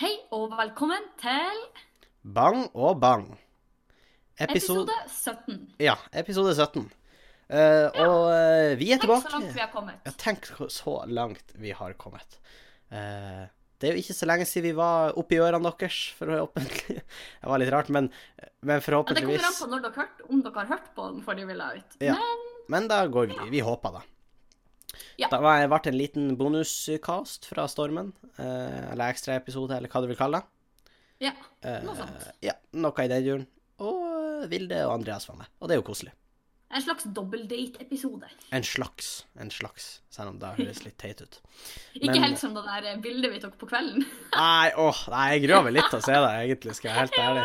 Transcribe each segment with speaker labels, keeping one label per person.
Speaker 1: Hei og velkommen til
Speaker 2: Bang og bang. Episode,
Speaker 1: episode 17.
Speaker 2: ja, episode 17. Eh, Og eh, vi er
Speaker 1: Tenk så langt vi
Speaker 2: tilbake.
Speaker 1: har kommet.
Speaker 2: Ja, tenk så langt vi har kommet. Eh, det er jo ikke så lenge siden vi var oppi ørene deres, forhåpentlig. Det var litt rart, men,
Speaker 1: Ja, det kommer
Speaker 2: men
Speaker 1: an
Speaker 2: forhåpentligvis
Speaker 1: på når dere hørt, om dere har hørt på den før de ville ut.
Speaker 2: Ja.
Speaker 1: Men
Speaker 2: Men da går vi. Vi håper det.
Speaker 1: Ja.
Speaker 2: Da var- ble det en liten bonuscast fra Stormen, eh, eller ekstraepisode, eller hva du vil kalle det.
Speaker 1: ja,
Speaker 2: Eh,
Speaker 1: Noe sånt.
Speaker 2: Ja, noe i den duren. Og Vilde og Andreas var med, og det er jo koselig.
Speaker 1: en slags dobbeldate-episode.
Speaker 2: En slags, en slags, selv om det høres litt teit ut.
Speaker 1: Ikke
Speaker 2: Men-
Speaker 1: helt som det der eh, bildet vi tok på kvelden.
Speaker 2: Nei, åh, nei, jeg gruer meg litt til å se det, egentlig, skal jeg være helt ærlig.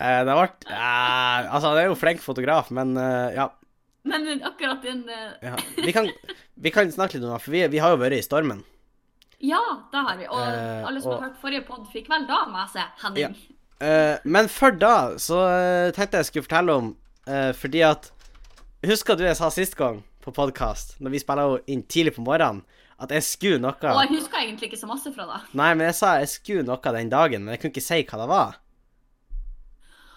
Speaker 2: Eh, Det ble eh, Altså, han er jo flink fotograf, men eh, ja.
Speaker 1: Men akkurat den eh,
Speaker 2: ja. Vi, kan, vi kan snakke litt om det, for vi, vi har jo vært i stormen.
Speaker 1: Ja, det har vi. Og
Speaker 2: Eh,
Speaker 1: alle som
Speaker 2: og-
Speaker 1: har hørt forrige pod, fikk vel da med seg Henning.
Speaker 2: Eh, Men før da, så eh, tenkte jeg skulle fortelle om eh, Fordi at Husker du jeg sa sist gang på podkast, når vi spilla jo inn tidlig på morgenen, at jeg skulle noe
Speaker 1: Og jeg husker egentlig ikke så masse fra det.
Speaker 2: Nei, men jeg sa jeg skulle noe den dagen, men jeg kunne ikke si hva det var.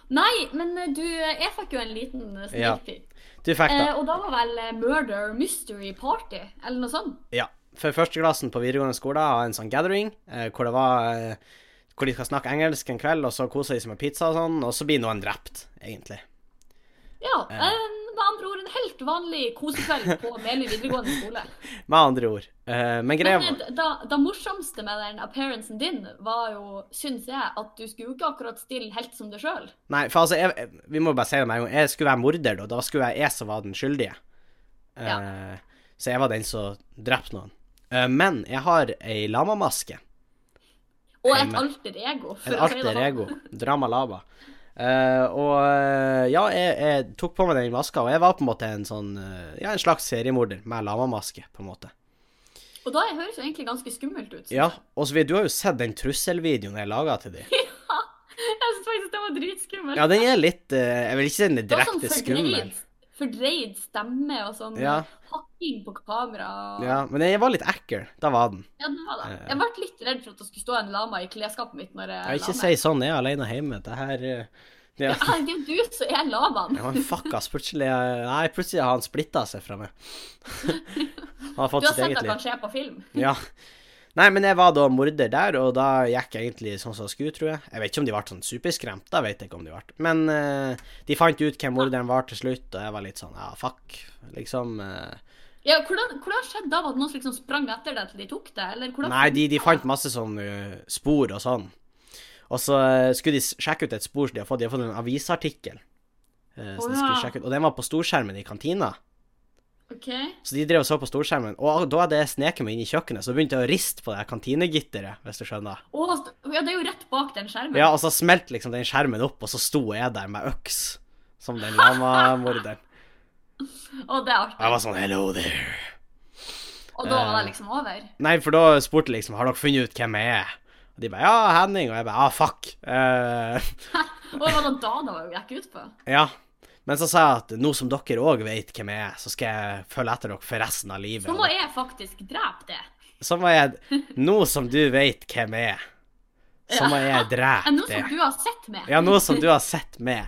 Speaker 1: Nei, men eh, du, eh, jeg fikk jo en liten eh,
Speaker 2: Ja.
Speaker 1: sneak peek.
Speaker 2: Du fikk det.
Speaker 1: Eh, og da var vel eh, Murder Mystery Party, eller noe sånt.
Speaker 2: Ja. For førsteklassen på videregående skole har en sånn gathering eh, hvor det var eh, hvor de skal snakke engelsk en kveld, og så kose de seg med pizza og sånn, og så blir noen drept, egentlig.
Speaker 1: Ja, en, med andre ord en helt vanlig kosekveld på Meløy videregående skole.
Speaker 2: Med andre ord. Eh, men greia
Speaker 1: Men
Speaker 2: var
Speaker 1: eh, da, det morsomste med den appearancen din var jo, syns jeg, at du skulle jo ikke akkurat stille helt som deg sjøl.
Speaker 2: Nei, for altså, jeg, jeg- vi må bare si det med en gang. Jeg skulle være morder, da. Da skulle jeg jeg som var den skyldige. Eh, Så jeg var den som drepte noen. Eh, men jeg har ei lamamaske.
Speaker 1: Og
Speaker 2: Men-
Speaker 1: et alter ego, for
Speaker 2: En
Speaker 1: å si det
Speaker 2: alter
Speaker 1: sånn.
Speaker 2: ego. Drama lava. Eh, og eh, ja, jeg, jeg tok på meg den maska, og jeg var på en måte en sånn eh, Ja, en slags seriemorder med lamamaske, på en måte.
Speaker 1: Og da høres jo egentlig ganske skummelt ut.
Speaker 2: Ja, og så vi- du har jo sett den trusselvideoen jeg laga til de.
Speaker 1: Jeg syns faktisk det var dritskummelt.
Speaker 2: Ja, den er litt eh, Jeg vil ikke si den er
Speaker 1: Det var sånn
Speaker 2: direkte skummel.
Speaker 1: fordreid- Fordreid stemme og sånn
Speaker 2: Ja.
Speaker 1: hakking på kamera.
Speaker 2: Ja, men den var litt ekkel. Da var den.
Speaker 1: Ja, det var det. Jeg ble litt redd for at det skulle stå en lama i klesskapet mitt når jeg,
Speaker 2: Jeg vil
Speaker 1: la
Speaker 2: ikke
Speaker 1: meg.
Speaker 2: si sånn, jeg er aleine hjemme. Det her eh, ja.
Speaker 1: Ja, det er jo du som er lamaen.
Speaker 2: Ja, men fuck, ass. Plutselig eh, Nei, plutselig har han splitta seg fra meg. Han har
Speaker 1: Du
Speaker 2: fått
Speaker 1: har
Speaker 2: sitt
Speaker 1: sett
Speaker 2: eget
Speaker 1: det
Speaker 2: liv.
Speaker 1: kan skje på film.
Speaker 2: Ja. Nei, men jeg var da morder der, og da gikk jeg egentlig sånn som jeg skulle, tror jeg. Jeg vet ikke om de ble sånn superskremt, da vet jeg ikke om de ble. Men eh, de fant ut hvem morderen var til slutt, og jeg var litt sånn ja, fuck, liksom. eh.
Speaker 1: Ja, hvordan, hvordan skjedde det av at noen liksom sprang etter deg til de tok deg? Eller hvordan
Speaker 2: Nei, de, de fant masse sånn eh, spor og sånn. Og så eh, skulle de s- sjekke ut et spor som de har fått. De har fått en avisartikkel. eh, som
Speaker 1: Å,
Speaker 2: de skulle
Speaker 1: ja.
Speaker 2: sjekke ut. Og den var på storskjermen i kantina.
Speaker 1: Ok.
Speaker 2: Så de drev og så på storskjermen. Og da hadde jeg sneket meg inn i kjøkkenet, så begynte jeg å riste på det her kantinegitteret, hvis du skjønner.
Speaker 1: Å, st- ja, det er jo rett bak den skjermen.
Speaker 2: Ja, og så smelt liksom den skjermen opp, og så sto jeg der med øks. Som den lamamorderen.
Speaker 1: Og det er artig.
Speaker 2: Jeg var sånn Hello there.
Speaker 1: Og da var det liksom over.
Speaker 2: Nei, for da spurte jeg liksom Har dere funnet ut hvem jeg er? Og de bare Ja, Henning. Og jeg bare Ja, ah, fuck. Eh,
Speaker 1: Og var det da det var- gikk ut på?
Speaker 2: ja. Men så sa jeg at nå som dere òg vet hvem jeg er, så skal jeg følge etter dere for resten av livet.
Speaker 1: Så må jeg faktisk drepe det.
Speaker 2: Så må jeg Nå som du vet hvem jeg er, så må jeg
Speaker 1: Ja, Nå
Speaker 2: drepe det.
Speaker 1: som du har sett meg.
Speaker 2: Ja, nå som du har sett meg,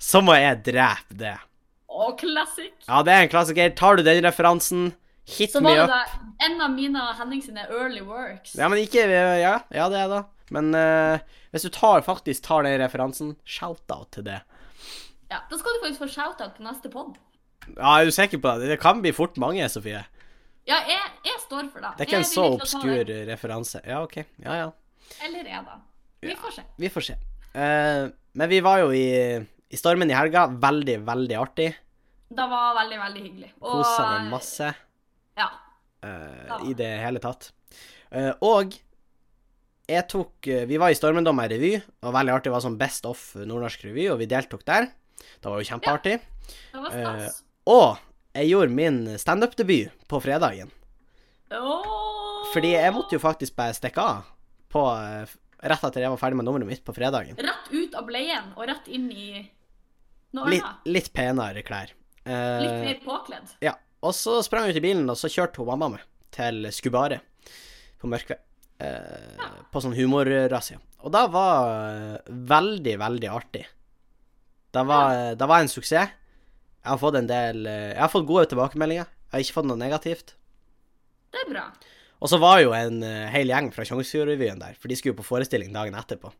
Speaker 2: så må jeg drepe det.
Speaker 1: Å, classic.
Speaker 2: Ja, det er en klassiker. Tar du den referansen? Hit
Speaker 1: Så
Speaker 2: me
Speaker 1: var det
Speaker 2: up.
Speaker 1: da en av mine og Henning sine early works.
Speaker 2: Ja, men ikke Ja, ja det er det. Men eh, hvis du tar, faktisk tar den referansen, shout-out til det.
Speaker 1: Ja, Da skal du faktisk få shout-out på neste pod.
Speaker 2: Ja, er du sikker på det? Det kan bli fort mange, Sofie.
Speaker 1: Ja, jeg, jeg står for det.
Speaker 2: Det er ikke en
Speaker 1: Jeg
Speaker 2: så
Speaker 1: er villig til å ta
Speaker 2: obskur
Speaker 1: det.
Speaker 2: referanse. Ja, OK. Ja, ja.
Speaker 1: Eller er det? Vi får se.
Speaker 2: Vi får se. Eh, men vi var jo i, i stormen i helga. Veldig, veldig artig.
Speaker 1: Det var veldig, veldig hyggelig. Og-
Speaker 2: Kosa meg masse
Speaker 1: Ja.
Speaker 2: eh,
Speaker 1: Ja.
Speaker 2: i det hele tatt. Eh, og jeg tok eh, Vi var i Stormendommer revy, og veldig artig. Det var sånn Best of nordnorsk revy, og vi deltok der. Det var jo kjempeartig.
Speaker 1: Det var stas.
Speaker 2: Og jeg gjorde min standup-debut på fredagen.
Speaker 1: Åh!
Speaker 2: Eh, Fordi jeg måtte jo faktisk bare stikke av på, eh, f- rett etter jeg var ferdig med nummeret mitt på fredagen.
Speaker 1: Rett ut av bleien og rett inn i noe
Speaker 2: Litt,
Speaker 1: annet.
Speaker 2: litt penere klær. Eh,
Speaker 1: Litt mer påkledd.
Speaker 2: ja. Og så sprang jeg ut i bilen, og så kjørte hun mamma med til Skubare på Mørkved. eh, på sånn humorrazzia. Og det var eh, veldig, veldig artig. Det var, det var en suksess. Jeg har fått en del eh, Jeg har fått gode tilbakemeldinger. Jeg har ikke fått noe negativt.
Speaker 1: Det er bra.
Speaker 2: Og så var jo en eh, hel gjeng fra Tjongsfjordrevyen der, for de skulle jo på forestilling dagen etterpå.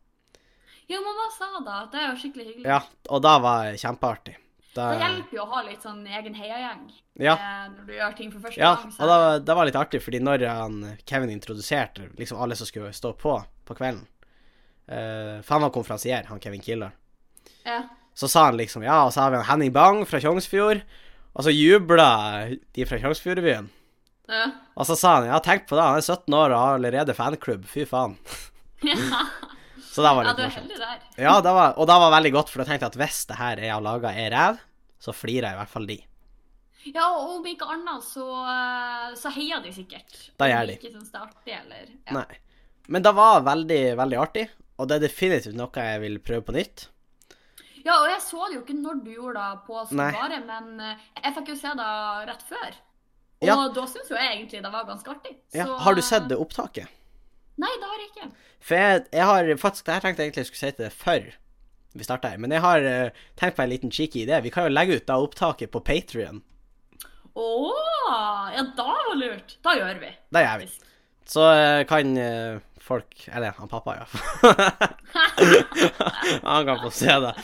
Speaker 1: Jo, mamma sa da at det er jo skikkelig hyggelig.
Speaker 2: Ja, og det var kjempeartig.
Speaker 1: Det
Speaker 2: Da-
Speaker 1: hjelper jo å ha litt sånn egen heiagjeng
Speaker 2: ja.
Speaker 1: eh, når du gjør ting for første
Speaker 2: Ja,
Speaker 1: gang.
Speaker 2: og det var, det var litt artig, fordi når han, Kevin introduserte liksom alle som skulle stå på på kvelden eh, For han var konferansier, han Kevin Kildahl.
Speaker 1: ja.
Speaker 2: Så sa han liksom Ja, og så har vi han Henning Bang fra Tjongsfjord. Og så jubla de fra Tjongsfjordrevyen.
Speaker 1: Ja.
Speaker 2: Og så sa han ja, tenk på det, han er 17 år og har allerede fanklubb. Fy faen.
Speaker 1: ja.
Speaker 2: Så det var
Speaker 1: ja,
Speaker 2: litt
Speaker 1: du er
Speaker 2: morsomt.
Speaker 1: heldig der.
Speaker 2: Ja, det var, og det var veldig godt, for jeg tenkte at hvis det her jeg har laga er ræv, så flirer i hvert fall de.
Speaker 1: Ja, og om ikke annet så, eh, så heier de sikkert.
Speaker 2: Da
Speaker 1: Om
Speaker 2: gjør de.
Speaker 1: Ikke syns det er artig, eller ja.
Speaker 2: Nei. Men det var veldig, veldig artig, og det er definitivt noe jeg vil prøve på nytt.
Speaker 1: Ja, og jeg så det jo ikke når du gjorde det på
Speaker 2: Nei.
Speaker 1: Skare, men eh, jeg fikk jo se det rett før. Og
Speaker 2: Ja.
Speaker 1: da syns jo jeg egentlig det var ganske artig.
Speaker 2: Ja,
Speaker 1: Så,
Speaker 2: har du sett det opptaket?
Speaker 1: Nei, det har jeg ikke.
Speaker 2: For jeg, jeg har faktisk Det her tenkte jeg egentlig jeg skulle si til deg før vi starta her, men jeg har eh, tenkt på en liten cheeky idé. Vi kan jo legge ut da opptaket på Patrion.
Speaker 1: Å! Ja, da var lurt. Da gjør vi.
Speaker 2: Det gjør vi.
Speaker 1: faktisk.
Speaker 2: Så eh, kan eh, folk Eller han pappa, ja. han kan få se det.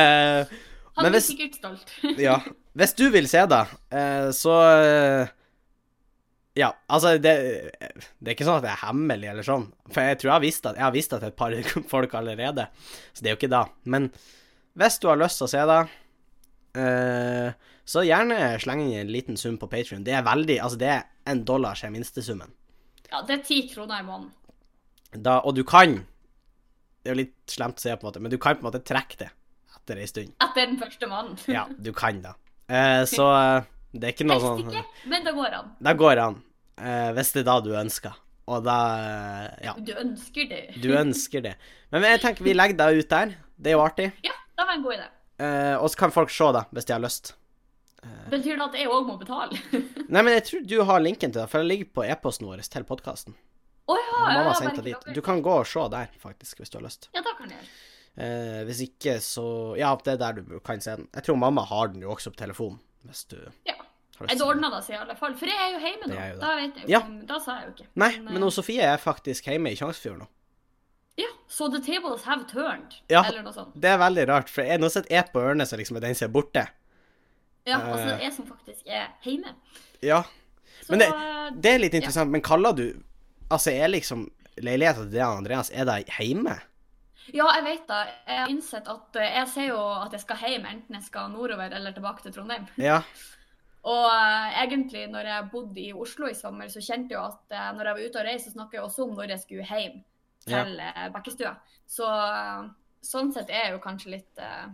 Speaker 2: Eh,
Speaker 1: Han
Speaker 2: Men
Speaker 1: blir
Speaker 2: hvis-
Speaker 1: sikkert stolt.
Speaker 2: ja. Hvis du vil se det, eh, så eh, Ja, altså det, det er ikke sånn at det er hemmelig eller sånn. For jeg tror jeg har visst at jeg har visst at et par folk allerede. Så det er jo ikke da. Men hvis du har lyst til å se det, eh, så gjerne sleng inn en liten sum på Patrion. Det er veldig Altså, det er en dollar som er minstesummen.
Speaker 1: Ja, det er ti kroner i måneden.
Speaker 2: Da, og du kan Det er jo litt slemt å si, på en måte, men du kan på en måte trekke det etter ei stund.
Speaker 1: Etter den første måneden.
Speaker 2: Ja, du kan da. Eh, så eh, det er ikke noe
Speaker 1: Helst
Speaker 2: sånn
Speaker 1: ikke, men det går an.
Speaker 2: Da går han, eh, hvis det er da du ønsker. Og da eh, Ja,
Speaker 1: Du ønsker det.
Speaker 2: du ønsker det. Men jeg tenker vi legger deg ut der. Det er jo artig.
Speaker 1: Ja, det var en god idé.
Speaker 2: Eh, og så kan folk se det, hvis de har lyst.
Speaker 1: Betyr det at jeg òg må betale? Å
Speaker 2: Nei, men jeg tror du har linken til det, for den ligger på e-posten vår til podkasten.
Speaker 1: ja, ja,
Speaker 2: Mamma
Speaker 1: ja, bare
Speaker 2: sendte
Speaker 1: ikke
Speaker 2: den dit.
Speaker 1: logger.
Speaker 2: Du kan gå og se der, faktisk, hvis du har lyst.
Speaker 1: Ja, det kan jeg gjøre.
Speaker 2: Eh, hvis ikke, så Ja, det er der du kan se den. Jeg tror mamma har den jo også på telefonen, hvis du
Speaker 1: Ja.
Speaker 2: har
Speaker 1: Jeg
Speaker 2: til det.
Speaker 1: ordna det seg i alle fall, for jeg er jo hjemme nå.
Speaker 2: Det er jo det.
Speaker 1: Da vet jeg jo
Speaker 2: Ja.
Speaker 1: ikke. Da sa jeg jo ikke.
Speaker 2: Nei,
Speaker 1: eh,
Speaker 2: men hun Sofie er faktisk hjemme i Tjongsfjord nå.
Speaker 1: Ja, so the tables have turned,
Speaker 2: Ja.
Speaker 1: eller noe sånt.
Speaker 2: Det er veldig rart, for jeg, nå sitter jeg på ørene, så liksom er den som er borte.
Speaker 1: Ja,
Speaker 2: Eh.
Speaker 1: altså det er jeg som faktisk er hjemme.
Speaker 2: Ja.
Speaker 1: Så
Speaker 2: Men det,
Speaker 1: eh,
Speaker 2: det er litt interessant. Men kaller du Altså, er liksom leiligheten til Dean Andreas Er det hjemme?
Speaker 1: Mm. Ja, jeg vet det. Jeg har innsett at eh, jeg ser jo at jeg skal hjem, enten jeg skal nordover eller tilbake til Trondheim.
Speaker 2: Ja.
Speaker 1: Og eh, egentlig, når jeg bodde i Oslo i sommer, så kjente jeg jo at eh, når jeg var ute og reiste, så snakket jeg også om når jeg skulle hjem til eh, Bekkestua. Så eh, sånn sett er jeg jo kanskje litt eh,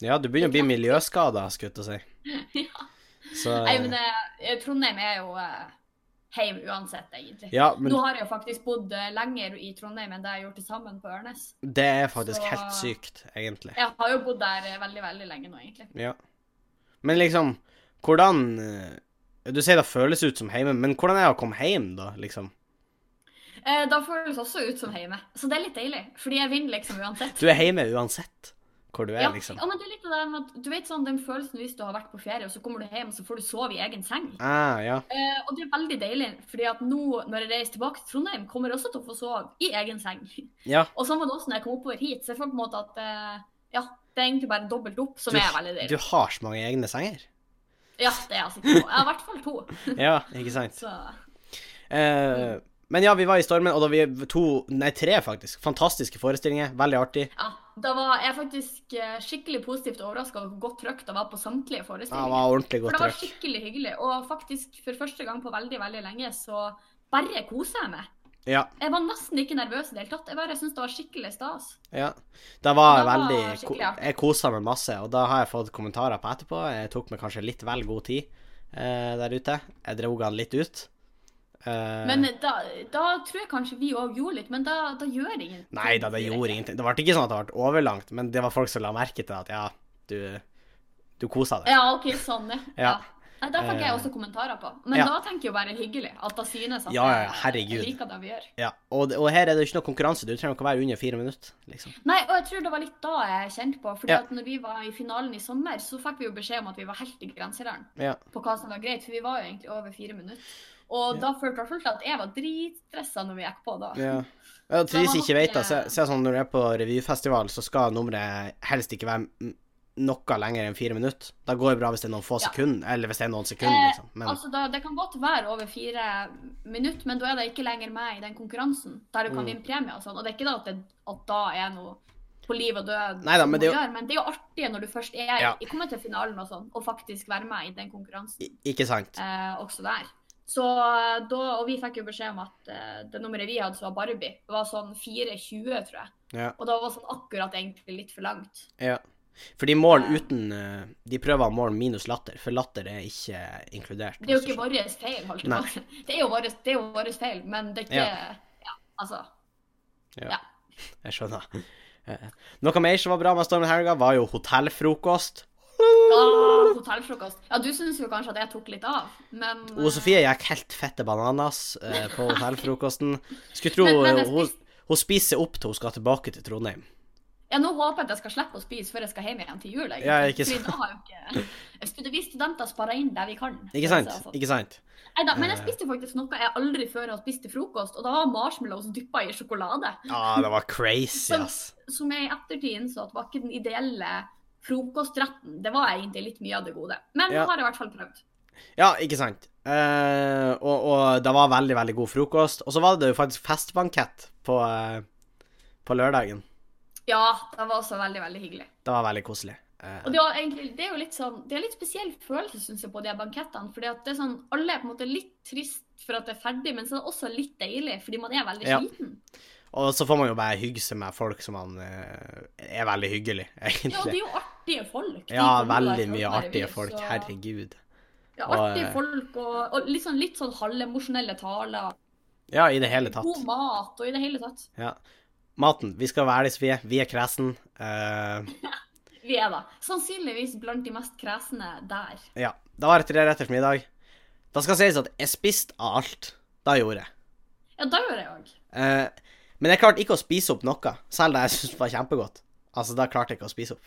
Speaker 2: Ja, du begynner å bli miljøskada, skulle jeg til å si.
Speaker 1: Ja.
Speaker 2: Så
Speaker 1: Nei, men eh, Trondheim er jo eh, hjem uansett, egentlig.
Speaker 2: Ja, men
Speaker 1: Nå har jeg jo faktisk bodd eh, lenger i Trondheim enn det jeg har gjort til sammen på Ørnes.
Speaker 2: det er faktisk
Speaker 1: Så-
Speaker 2: helt sykt, egentlig.
Speaker 1: Jeg har jo bodd der eh, veldig, veldig lenge nå, egentlig.
Speaker 2: Ja. Men liksom, hvordan eh, Du sier det føles ut som hjemme, men hvordan er det å komme hjem, da, liksom?
Speaker 1: Eh, da føles det også ut som hjemme, så det er litt deilig. Fordi jeg vinner liksom uansett.
Speaker 2: Du er hjemme uansett hvor du er,
Speaker 1: Ja,
Speaker 2: liksom.
Speaker 1: ja, men det er litt det der med at du vet sånn den følelsen hvis du har vært på ferie, og så kommer du hjem, og så får du sove i egen seng.
Speaker 2: Ah, ja.
Speaker 1: Eh, og det er veldig deilig, fordi at nå når jeg reiser tilbake til Trondheim, kommer jeg også til å få sove i egen seng.
Speaker 2: ja.
Speaker 1: Og sånn var det også når jeg kom oppover hit. Så jeg føler på en måte at eh, ja, det er egentlig bare dobbelt opp, som
Speaker 2: Du,
Speaker 1: er veldig
Speaker 2: du
Speaker 1: deilig.
Speaker 2: har så mange egne senger.
Speaker 1: Ja, det er altså ikke noe. Jeg har i hvert fall to.
Speaker 2: Ja, ikke sant?
Speaker 1: Så
Speaker 2: Eh, men ja, vi var i stormen, og da vi to, nei tre faktisk, fantastiske forestillinger, veldig artig.
Speaker 1: ja, da var jeg faktisk eh, skikkelig positivt overraska over hvor godt trykk det var på samtlige
Speaker 2: Ja, det
Speaker 1: forestillinger.
Speaker 2: var ordentlig
Speaker 1: For
Speaker 2: godt
Speaker 1: det var
Speaker 2: trøkk.
Speaker 1: skikkelig hyggelig. Og faktisk for første gang på veldig, veldig lenge så bare koser jeg meg.
Speaker 2: Ja,
Speaker 1: Jeg var nesten ikke nervøs i det hele tatt. Jeg bare syntes det var skikkelig stas.
Speaker 2: ja. Det var
Speaker 1: Det var
Speaker 2: veldig, ko-
Speaker 1: skikkelig artig.
Speaker 2: jeg koset meg masse, og da har jeg fått kommentarer på etterpå, jeg tok meg kanskje litt vel god tid eh, der ute, jeg drog han litt ut. Eh,
Speaker 1: Men da, da tror jeg kanskje vi òg gjorde litt, men da, da gjør det ingenting.
Speaker 2: Nei da, det gjorde ingenting. Det ble ikke sånn at det ble overlangt,
Speaker 1: Eh.
Speaker 2: men det var folk som la merke til at ja, du, du koset deg.
Speaker 1: Ja, OK, sånn, ja.
Speaker 2: Ja.
Speaker 1: ja. Nei, Der fikk
Speaker 2: Eh,
Speaker 1: jeg også kommentarer på. Men
Speaker 2: ja.
Speaker 1: da tenker jeg jo bare hyggelig. At da synes at
Speaker 2: Ja, ja, ja,
Speaker 1: jeg- jeg
Speaker 2: herregud.
Speaker 1: liker det vi gjør.
Speaker 2: Ja, og, det- og her er det jo ikke noe konkurranse. Du trenger ikke å være under fire minutter. liksom.
Speaker 1: Nei, og jeg tror det var litt da jeg kjente på. fordi
Speaker 2: Ja.
Speaker 1: at når vi var i finalen i sommer, så fikk vi jo beskjed om at vi var helt i grenseland
Speaker 2: Ja.
Speaker 1: på hva som var greit, for vi var jo egentlig over fire minutter. Og
Speaker 2: Ja.
Speaker 1: da følte jeg først at jeg var dritstressa når vi gikk på da.
Speaker 2: ja. ja til de som ikke vet det, så,
Speaker 1: Så
Speaker 2: så er det sånn når du er på revyfestival, så skal nummeret helst ikke være m- noe lenger enn fire minutter. Da går det bra hvis det er noen få
Speaker 1: Ja.
Speaker 2: sekunder, eller hvis det er noen
Speaker 1: Eh,
Speaker 2: sekunder, liksom. Men
Speaker 1: Altså, da, Det kan godt være over fire minutter, men da er det ikke lenger med i den konkurransen. Der du kan
Speaker 2: Mm.
Speaker 1: vinne premie og sånn. Og det er ikke da at, det, at da er noe på liv og død
Speaker 2: Neida,
Speaker 1: som
Speaker 2: men
Speaker 1: må
Speaker 2: det er jo-
Speaker 1: gjøre, men det er jo artig når du først er
Speaker 2: Ja.
Speaker 1: i- kommer til finalen og sånn, og faktisk være med i den konkurransen
Speaker 2: i- ikke sant?
Speaker 1: eh, også der. Så eh, da, Og vi fikk jo beskjed om at eh, det nummeret vi hadde som var Barbie, det var sånn 4.20, tror jeg.
Speaker 2: Ja.
Speaker 1: Og da var sånn akkurat egentlig litt for langt.
Speaker 2: ja. For de måler uten eh, De prøver å måle minus latter, for latter er ikke inkludert.
Speaker 1: Det er jo ikke vår feil, holdt jeg på å si. Det er jo vår, det er jo vår feil, men det er ikke Ja, altså.
Speaker 2: Jeg skjønner. Eh, Noe mer som var bra med Stormen helga, var jo hotellfrokost.
Speaker 1: Ah, hotellfrokost. Ja, du syns jo kanskje at jeg tok litt av, men
Speaker 2: Hun Sofie gikk helt fette bananas eh, på hotellfrokosten. Skulle tro
Speaker 1: Men- men jeg
Speaker 2: eh, hun, hun spiser opp til hun skal tilbake til Trondheim.
Speaker 1: eh, Ja, nå håper jeg at jeg skal slippe å spise før jeg skal hjem igjen til jul. egentlig.
Speaker 2: Ja, ikke
Speaker 1: Fordi da har jo ikke stud- Vi studenter sparer inn der vi kan. føler
Speaker 2: Ikke
Speaker 1: jeg,
Speaker 2: sant?
Speaker 1: altså.
Speaker 2: Ikke sant?
Speaker 1: Neida, men
Speaker 2: Eh.
Speaker 1: jeg spiste faktisk noe jeg aldri før har spist til frokost, og da var marshmallows dyppa i sjokolade.
Speaker 2: Ja, det var crazy,
Speaker 1: Som-
Speaker 2: ass.
Speaker 1: Som jeg i ettertid innså at var ikke den ideelle frokostretten. Det var egentlig litt mye av det gode. Men
Speaker 2: Ja.
Speaker 1: nå har jeg i hvert fall prøvd.
Speaker 2: Ja, ikke sant? Eh, og, og det var veldig, veldig god frokost. Og så var det jo faktisk festbankett på, eh, på lørdagen.
Speaker 1: Ja, det var også veldig, veldig hyggelig.
Speaker 2: Det var veldig koselig. Eh,
Speaker 1: Og det, var egentlig, det er jo litt sånn, det er litt spesiell følelse, synes jeg, på de her bankettene. fordi at det er sånn, alle er på en måte litt trist for at det er ferdig, men så er det også litt deilig, fordi man er veldig
Speaker 2: Ja.
Speaker 1: sliten.
Speaker 2: og så får man jo bare hygge seg med folk som man eh, er veldig hyggelig,
Speaker 1: Ja, og det
Speaker 2: egentlig.
Speaker 1: er jo artige folk. De
Speaker 2: Ja,
Speaker 1: kommer der
Speaker 2: veldig
Speaker 1: fra
Speaker 2: mye
Speaker 1: hver
Speaker 2: artige
Speaker 1: by,
Speaker 2: folk.
Speaker 1: så-
Speaker 2: Herregud.
Speaker 1: Ja,
Speaker 2: Og,
Speaker 1: artige
Speaker 2: eh,
Speaker 1: folk, og, og litt sånn, litt sånn halvemosjonelle taler.
Speaker 2: Ja, i det hele tatt.
Speaker 1: God mat, og i det hele tatt.
Speaker 2: Ja. Maten. Vi skal være ærlige, Sofie. Vi er kresen. Eh,
Speaker 1: Vi er da sannsynligvis blant de mest kresne der.
Speaker 2: ja. Da var det tre retters middag. Da skal sies at jeg spiste av alt. Da gjorde jeg.
Speaker 1: Ja, da gjør jeg òg.
Speaker 2: Eh, men jeg klarte ikke å spise opp noe, selv det jeg syntes var kjempegodt. Altså, da klarte jeg ikke å spise opp.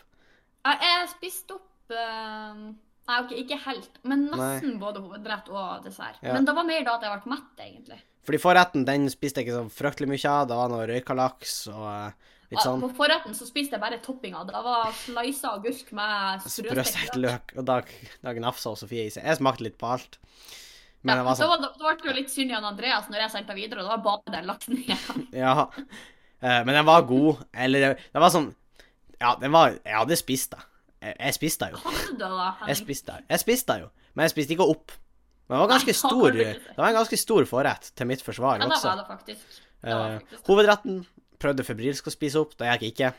Speaker 1: Jeg, jeg spiste opp eh, Nei, ok, ikke helt, men nesten både hovedrett og dessert.
Speaker 2: Ja.
Speaker 1: Men det var mer da at jeg ble mett, egentlig.
Speaker 2: Fordi forretten, den spiste jeg ikke så fryktelig mye av. Det var noe røyka laks og eh, litt sånn
Speaker 1: På forretten så spiste jeg bare toppinga. Det var slisa agurk med
Speaker 2: sprøstekt
Speaker 1: sprøstekt
Speaker 2: løk. Og da, da gnafsa Sofie i seg. Jeg smakte litt på alt. Men
Speaker 1: Ja,
Speaker 2: det var sånn
Speaker 1: da, var, da ble det jo litt synd i han Andreas når jeg sendte videre, og da var bare den laksen igjen.
Speaker 2: sånn, Ja. Eh, Men den var god. Eller den var sånn Ja, den var Jeg hadde spist den. Jeg, jeg spiste den jo.
Speaker 1: Hadde du det da,
Speaker 2: Jeg
Speaker 1: Henning?
Speaker 2: spiste den. Jeg spiste den jo. Men jeg spiste ikke opp. Men den var ganske
Speaker 1: Nei, da
Speaker 2: stor.
Speaker 1: kan du ikke si.
Speaker 2: Det var en ganske stor forrett, til mitt forsvar
Speaker 1: Ja, da
Speaker 2: også.
Speaker 1: var det faktisk. Det var
Speaker 2: Eh,
Speaker 1: faktisk.
Speaker 2: hovedretten prøvde febrilsk å spise opp. Det gikk ikke.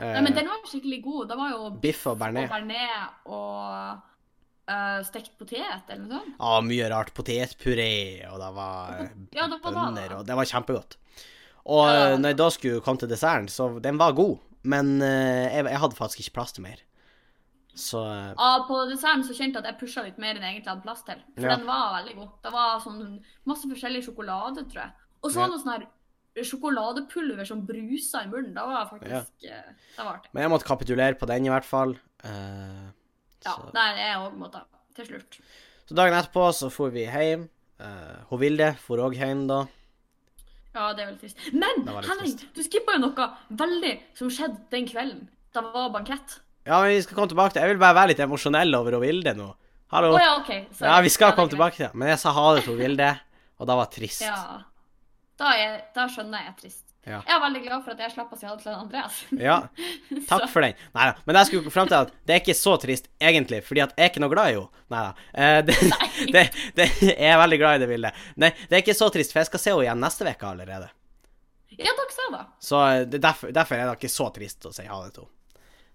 Speaker 2: Eh,
Speaker 1: Nei, men den var skikkelig god. Det var jo
Speaker 2: biff og
Speaker 1: og
Speaker 2: bearnés.
Speaker 1: bearnés og eh, stekt potet eller noe sånt.
Speaker 2: Ja, Ah, mye rart. Potetpuré, og det var eh,
Speaker 1: Ja, det var da.
Speaker 2: bønner, og det var kjempegodt. Og
Speaker 1: Ja,
Speaker 2: eh,
Speaker 1: da.
Speaker 2: når jeg da skulle komme til desserten, så den var god, men eh, jeg, jeg hadde faktisk ikke plass til mer. Så eh,
Speaker 1: Ja, Ah, på desserten så kjente jeg at jeg pusha litt mer enn jeg egentlig hadde plass til. For
Speaker 2: Ja.
Speaker 1: den var veldig god. Det var sånn masse forskjellig sjokolade, tror jeg. Og så
Speaker 2: Ja.
Speaker 1: var det noe sånn her sjokoladepulver som brusa i munnen. Det var faktisk eh, Det var artig.
Speaker 2: Men jeg måtte kapitulere på den, i hvert fall. Eh,
Speaker 1: Ja.
Speaker 2: så,
Speaker 1: Der er jeg òg måtte til slutt.
Speaker 2: så dagen etterpå så for vi hjem. Eh, hun Vilde for òg hjem da.
Speaker 1: Ja, det er veldig trist. Men
Speaker 2: Det var litt
Speaker 1: Henning,
Speaker 2: trist.
Speaker 1: du skippa jo noe veldig som skjedde den kvelden. Det var bankett.
Speaker 2: Ja, men vi skal komme tilbake til Jeg vil bare være litt emosjonell over hun Vilde nå.
Speaker 1: Å
Speaker 2: Hallo. ja,
Speaker 1: ja, OK. sorry.
Speaker 2: vi skal komme
Speaker 1: det er greit.
Speaker 2: tilbake til det. Men jeg sa ha det til hun Vilde, og det var trist.
Speaker 1: Ja. Da, er, da skjønner jeg jeg er trist.
Speaker 2: Ja.
Speaker 1: Jeg er veldig glad for at jeg slapp å si ha det til Andreas.
Speaker 2: ja. Takk for den. Neida, Men jeg skulle fram til at det er ikke så trist, egentlig, fordi at jeg er ikke noe glad i henne. Neida. Eh, det, det, det, jeg er veldig glad i det bildet. Nei, det er ikke så trist, for jeg skal se henne igjen neste uke allerede.
Speaker 1: Ja, takk sa da.
Speaker 2: Så eh, det er derfor, derfor er det ikke så trist å si ha det til henne.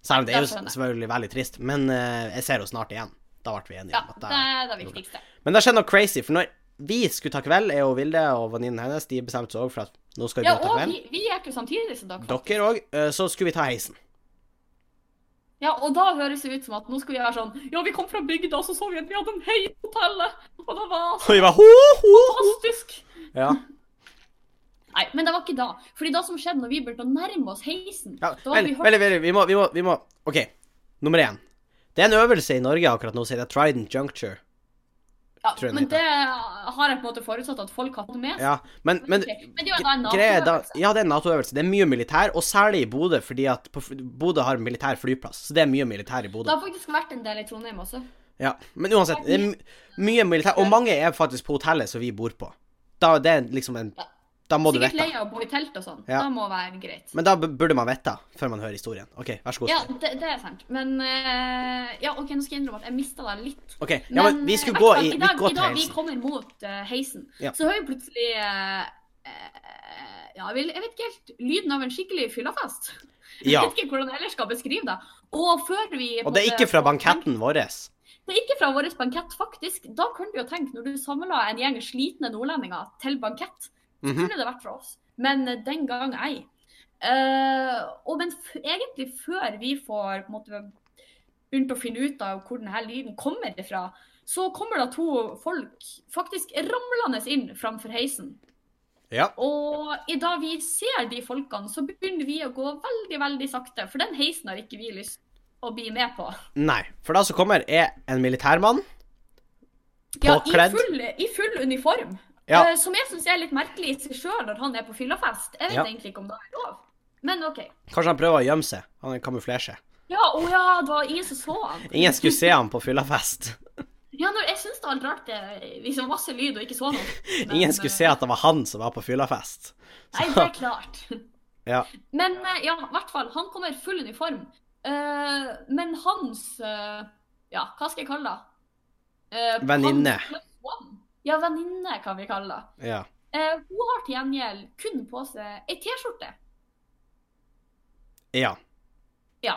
Speaker 2: Selv om det er jo
Speaker 1: Det skjønner jeg.
Speaker 2: selvfølgelig veldig trist, men eh, jeg ser henne snart igjen. Da ble vi enige
Speaker 1: Ja,
Speaker 2: om at
Speaker 1: det
Speaker 2: det
Speaker 1: er det viktigste.
Speaker 2: Men det skjedde noe crazy, for når vi skulle ta kveld, jeg og Vilde og venninnen hennes, de bestemte seg òg for at nå skal vi
Speaker 1: Ja,
Speaker 2: ta
Speaker 1: og
Speaker 2: kveld. eh,
Speaker 1: vi, vi gikk jo samtidig som dere.
Speaker 2: Dere òg. Så skulle vi ta heisen.
Speaker 1: Ja, og da høres det ut som at nå skulle vi være sånn Ja, vi kom fra bygda, og så så vi at vi hadde en hei på hotellet, og det var
Speaker 2: Og vi bare ho, ho, ho.
Speaker 1: fantastisk.
Speaker 2: Ja.
Speaker 1: Nei, men det var ikke da. Fordi det som skjedde når vi begynte å nærme oss heisen
Speaker 2: ja.
Speaker 1: da hadde
Speaker 2: Vent,
Speaker 1: vi hørt-
Speaker 2: vent, vent, vi må, vi må, vi må OK, nummer én. Det er en øvelse i Norge akkurat nå som heter Trident Juncture.
Speaker 1: ja,
Speaker 2: tror jeg den
Speaker 1: Men
Speaker 2: heter.
Speaker 1: det har jeg på en måte forutsatt at folk har fått med seg.
Speaker 2: Ja, men, men
Speaker 1: Ok, men det er jo da en
Speaker 2: greia er da
Speaker 1: NATO-øvelse.
Speaker 2: Ja, det er en Nato-øvelse. Det er mye militær, og særlig i Bodø, fordi at på f- Bodø har militær flyplass. Så det er mye militær i
Speaker 1: Det
Speaker 2: Bodø.
Speaker 1: har faktisk vært en del i Trondheim også.
Speaker 2: Ja, Men uansett, det er my- mye militær, og mange er faktisk på hotellet som vi bor på. Da det er liksom en
Speaker 1: Ja.
Speaker 2: Da må du
Speaker 1: Sikkert
Speaker 2: vite.
Speaker 1: lei av å bo i telt og sånn.
Speaker 2: Ja.
Speaker 1: Da må være greit.
Speaker 2: Men da b- burde man vite før man hører historien. OK, vær så god.
Speaker 1: Ja, det, det er sant. Men eh, Ja, OK, nå skal jeg innrømme at jeg mista deg litt.
Speaker 2: OK, ja, men vi skulle gå
Speaker 1: hvert fall
Speaker 2: i Vi
Speaker 1: dag,
Speaker 2: går
Speaker 1: eh, i
Speaker 2: til
Speaker 1: dag vi
Speaker 2: heisen.
Speaker 1: kommer mot eh, heisen,
Speaker 2: Ja.
Speaker 1: så hører vi plutselig eh, eh, Ja, jeg vil- jeg vet ikke helt Lyden av en skikkelig fyllafest.
Speaker 2: Ja.
Speaker 1: Jeg vet ikke hvordan jeg ellers skal beskrive det. Og før vi på
Speaker 2: Og det er
Speaker 1: en
Speaker 2: ikke
Speaker 1: måte-
Speaker 2: fra banketten vår.
Speaker 1: Det er ikke fra vår bankett, faktisk. Da kunne du jo tenke, når du samla en gjeng slitne nordlendinger til bankett, så
Speaker 2: Mhm.
Speaker 1: kunne det vært fra oss. Men eh, den gang ei. Eh, og men f egentlig før vi får på en måte, begynt å finne ut av hvor denne lyden kommer ifra, så kommer da to folk faktisk ramlende inn framfor heisen.
Speaker 2: Ja.
Speaker 1: Og i da vi ser de folkene, så begynner vi å gå veldig, veldig sakte. For den heisen har ikke vi lyst å bli med på.
Speaker 2: Nei. For da som kommer, er en militærmann.
Speaker 1: Ja, i
Speaker 2: Påkledd.
Speaker 1: full, i full uniform.
Speaker 2: Ja.
Speaker 1: Eh, som jeg syns er litt merkelig i seg sjøl når han er på fyllafest. Jeg vet
Speaker 2: Ja.
Speaker 1: egentlig ikke om det er lov. Men OK.
Speaker 2: Kanskje han prøver å gjemme seg. Han kamuflerer seg.
Speaker 1: Ja, å ja, det var ingen som så han.
Speaker 2: Ingen skulle se ham på fyllafest.
Speaker 1: Ja, når, jeg syns det var litt rart, det liksom masse lyd og ikke så noe. Men,
Speaker 2: Ingen skulle se
Speaker 1: eh,
Speaker 2: at det var han som var på fyllafest.
Speaker 1: Nei, det er klart.
Speaker 2: Ja.
Speaker 1: Men eh, ja, i hvert fall. Han kommer i full uniform. Eh, men hans eh, Ja, hva skal jeg kalle det? Eh,
Speaker 2: Venninne.
Speaker 1: hans plus one. Ja, venninne kan vi kalle det.
Speaker 2: Ja.
Speaker 1: Eh, hun har til gjengjeld kun på seg ei T-skjorte.
Speaker 2: ja.
Speaker 1: Ja.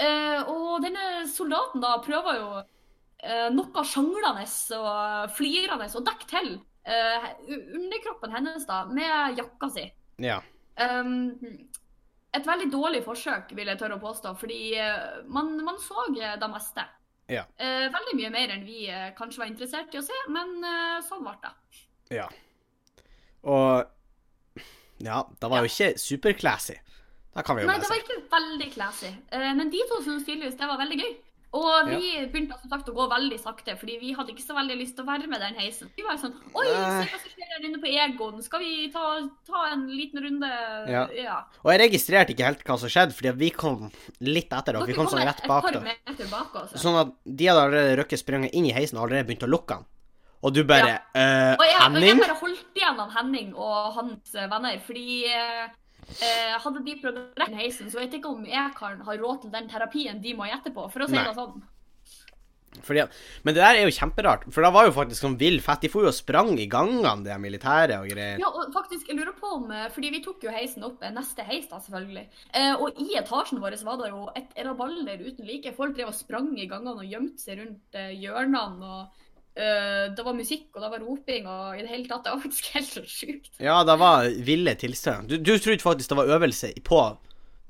Speaker 1: Eh, og denne soldaten da prøver jo eh, noe sjanglende og flirende og dekke til eh, u- underkroppen hennes da, med jakka si.
Speaker 2: Ja.
Speaker 1: Um, et veldig dårlig forsøk, vil jeg tørre å påstå, fordi eh, man, man så eh, det meste.
Speaker 2: Ja.
Speaker 1: Eh, veldig mye mer enn vi eh, kanskje var interessert i å se, men eh, sånn ble det.
Speaker 2: ja. Og Ja, det var jo ikke superclassy. Da kan vi jo
Speaker 1: Nei,
Speaker 2: bare
Speaker 1: det var
Speaker 2: si.
Speaker 1: ikke veldig classy. Eh, Men de to syntes tydeligvis det var veldig gøy. Og vi begynte som sagt å gå veldig sakte, fordi vi hadde ikke så veldig lyst til å være med den heisen. Vi var sånn Oi,
Speaker 2: Nei.
Speaker 1: se hva som skjer her inne på Egon. Skal vi ta, ta en liten runde?
Speaker 2: Ja. Og jeg registrerte ikke helt hva som skjedde, fordi at vi kom litt etter dere. Vi kom sånn rett bak
Speaker 1: dere.
Speaker 2: dere.
Speaker 1: Et par meter bak oss.
Speaker 2: Sånn at de hadde allerede rukket springe inn i heisen og allerede begynt å lukke den. Og du bare
Speaker 1: Og jeg,
Speaker 2: eh,
Speaker 1: og jeg
Speaker 2: Henning?
Speaker 1: bare holdt igjen han Henning og hans eh, venner, fordi eh, eh, hadde de prøvd å rekke den heisen, så vet jeg ikke om jeg kan ha råd til den terapien de må gjette på, for å si
Speaker 2: Nei.
Speaker 1: det sånn.
Speaker 2: Fordi, at- men det der er jo kjemperart, for da var jo faktisk sånn vill fett. De for jo og sprang i gangene, de militære og greier.
Speaker 1: Ja, og faktisk, jeg lurer på om eh, Fordi vi tok jo heisen opp eh, neste heis, da, selvfølgelig. Eh, og i etasjen vår var det jo et rabalder uten like. Folk drev og sprang i gangene og gjemte seg rundt eh, hjørnene. og eh, Det var musikk, og det var roping, og i det hele tatt Det var faktisk helt så sjukt.
Speaker 2: Ja, det var ville tilstand. Du, du trodde faktisk det var øvelse på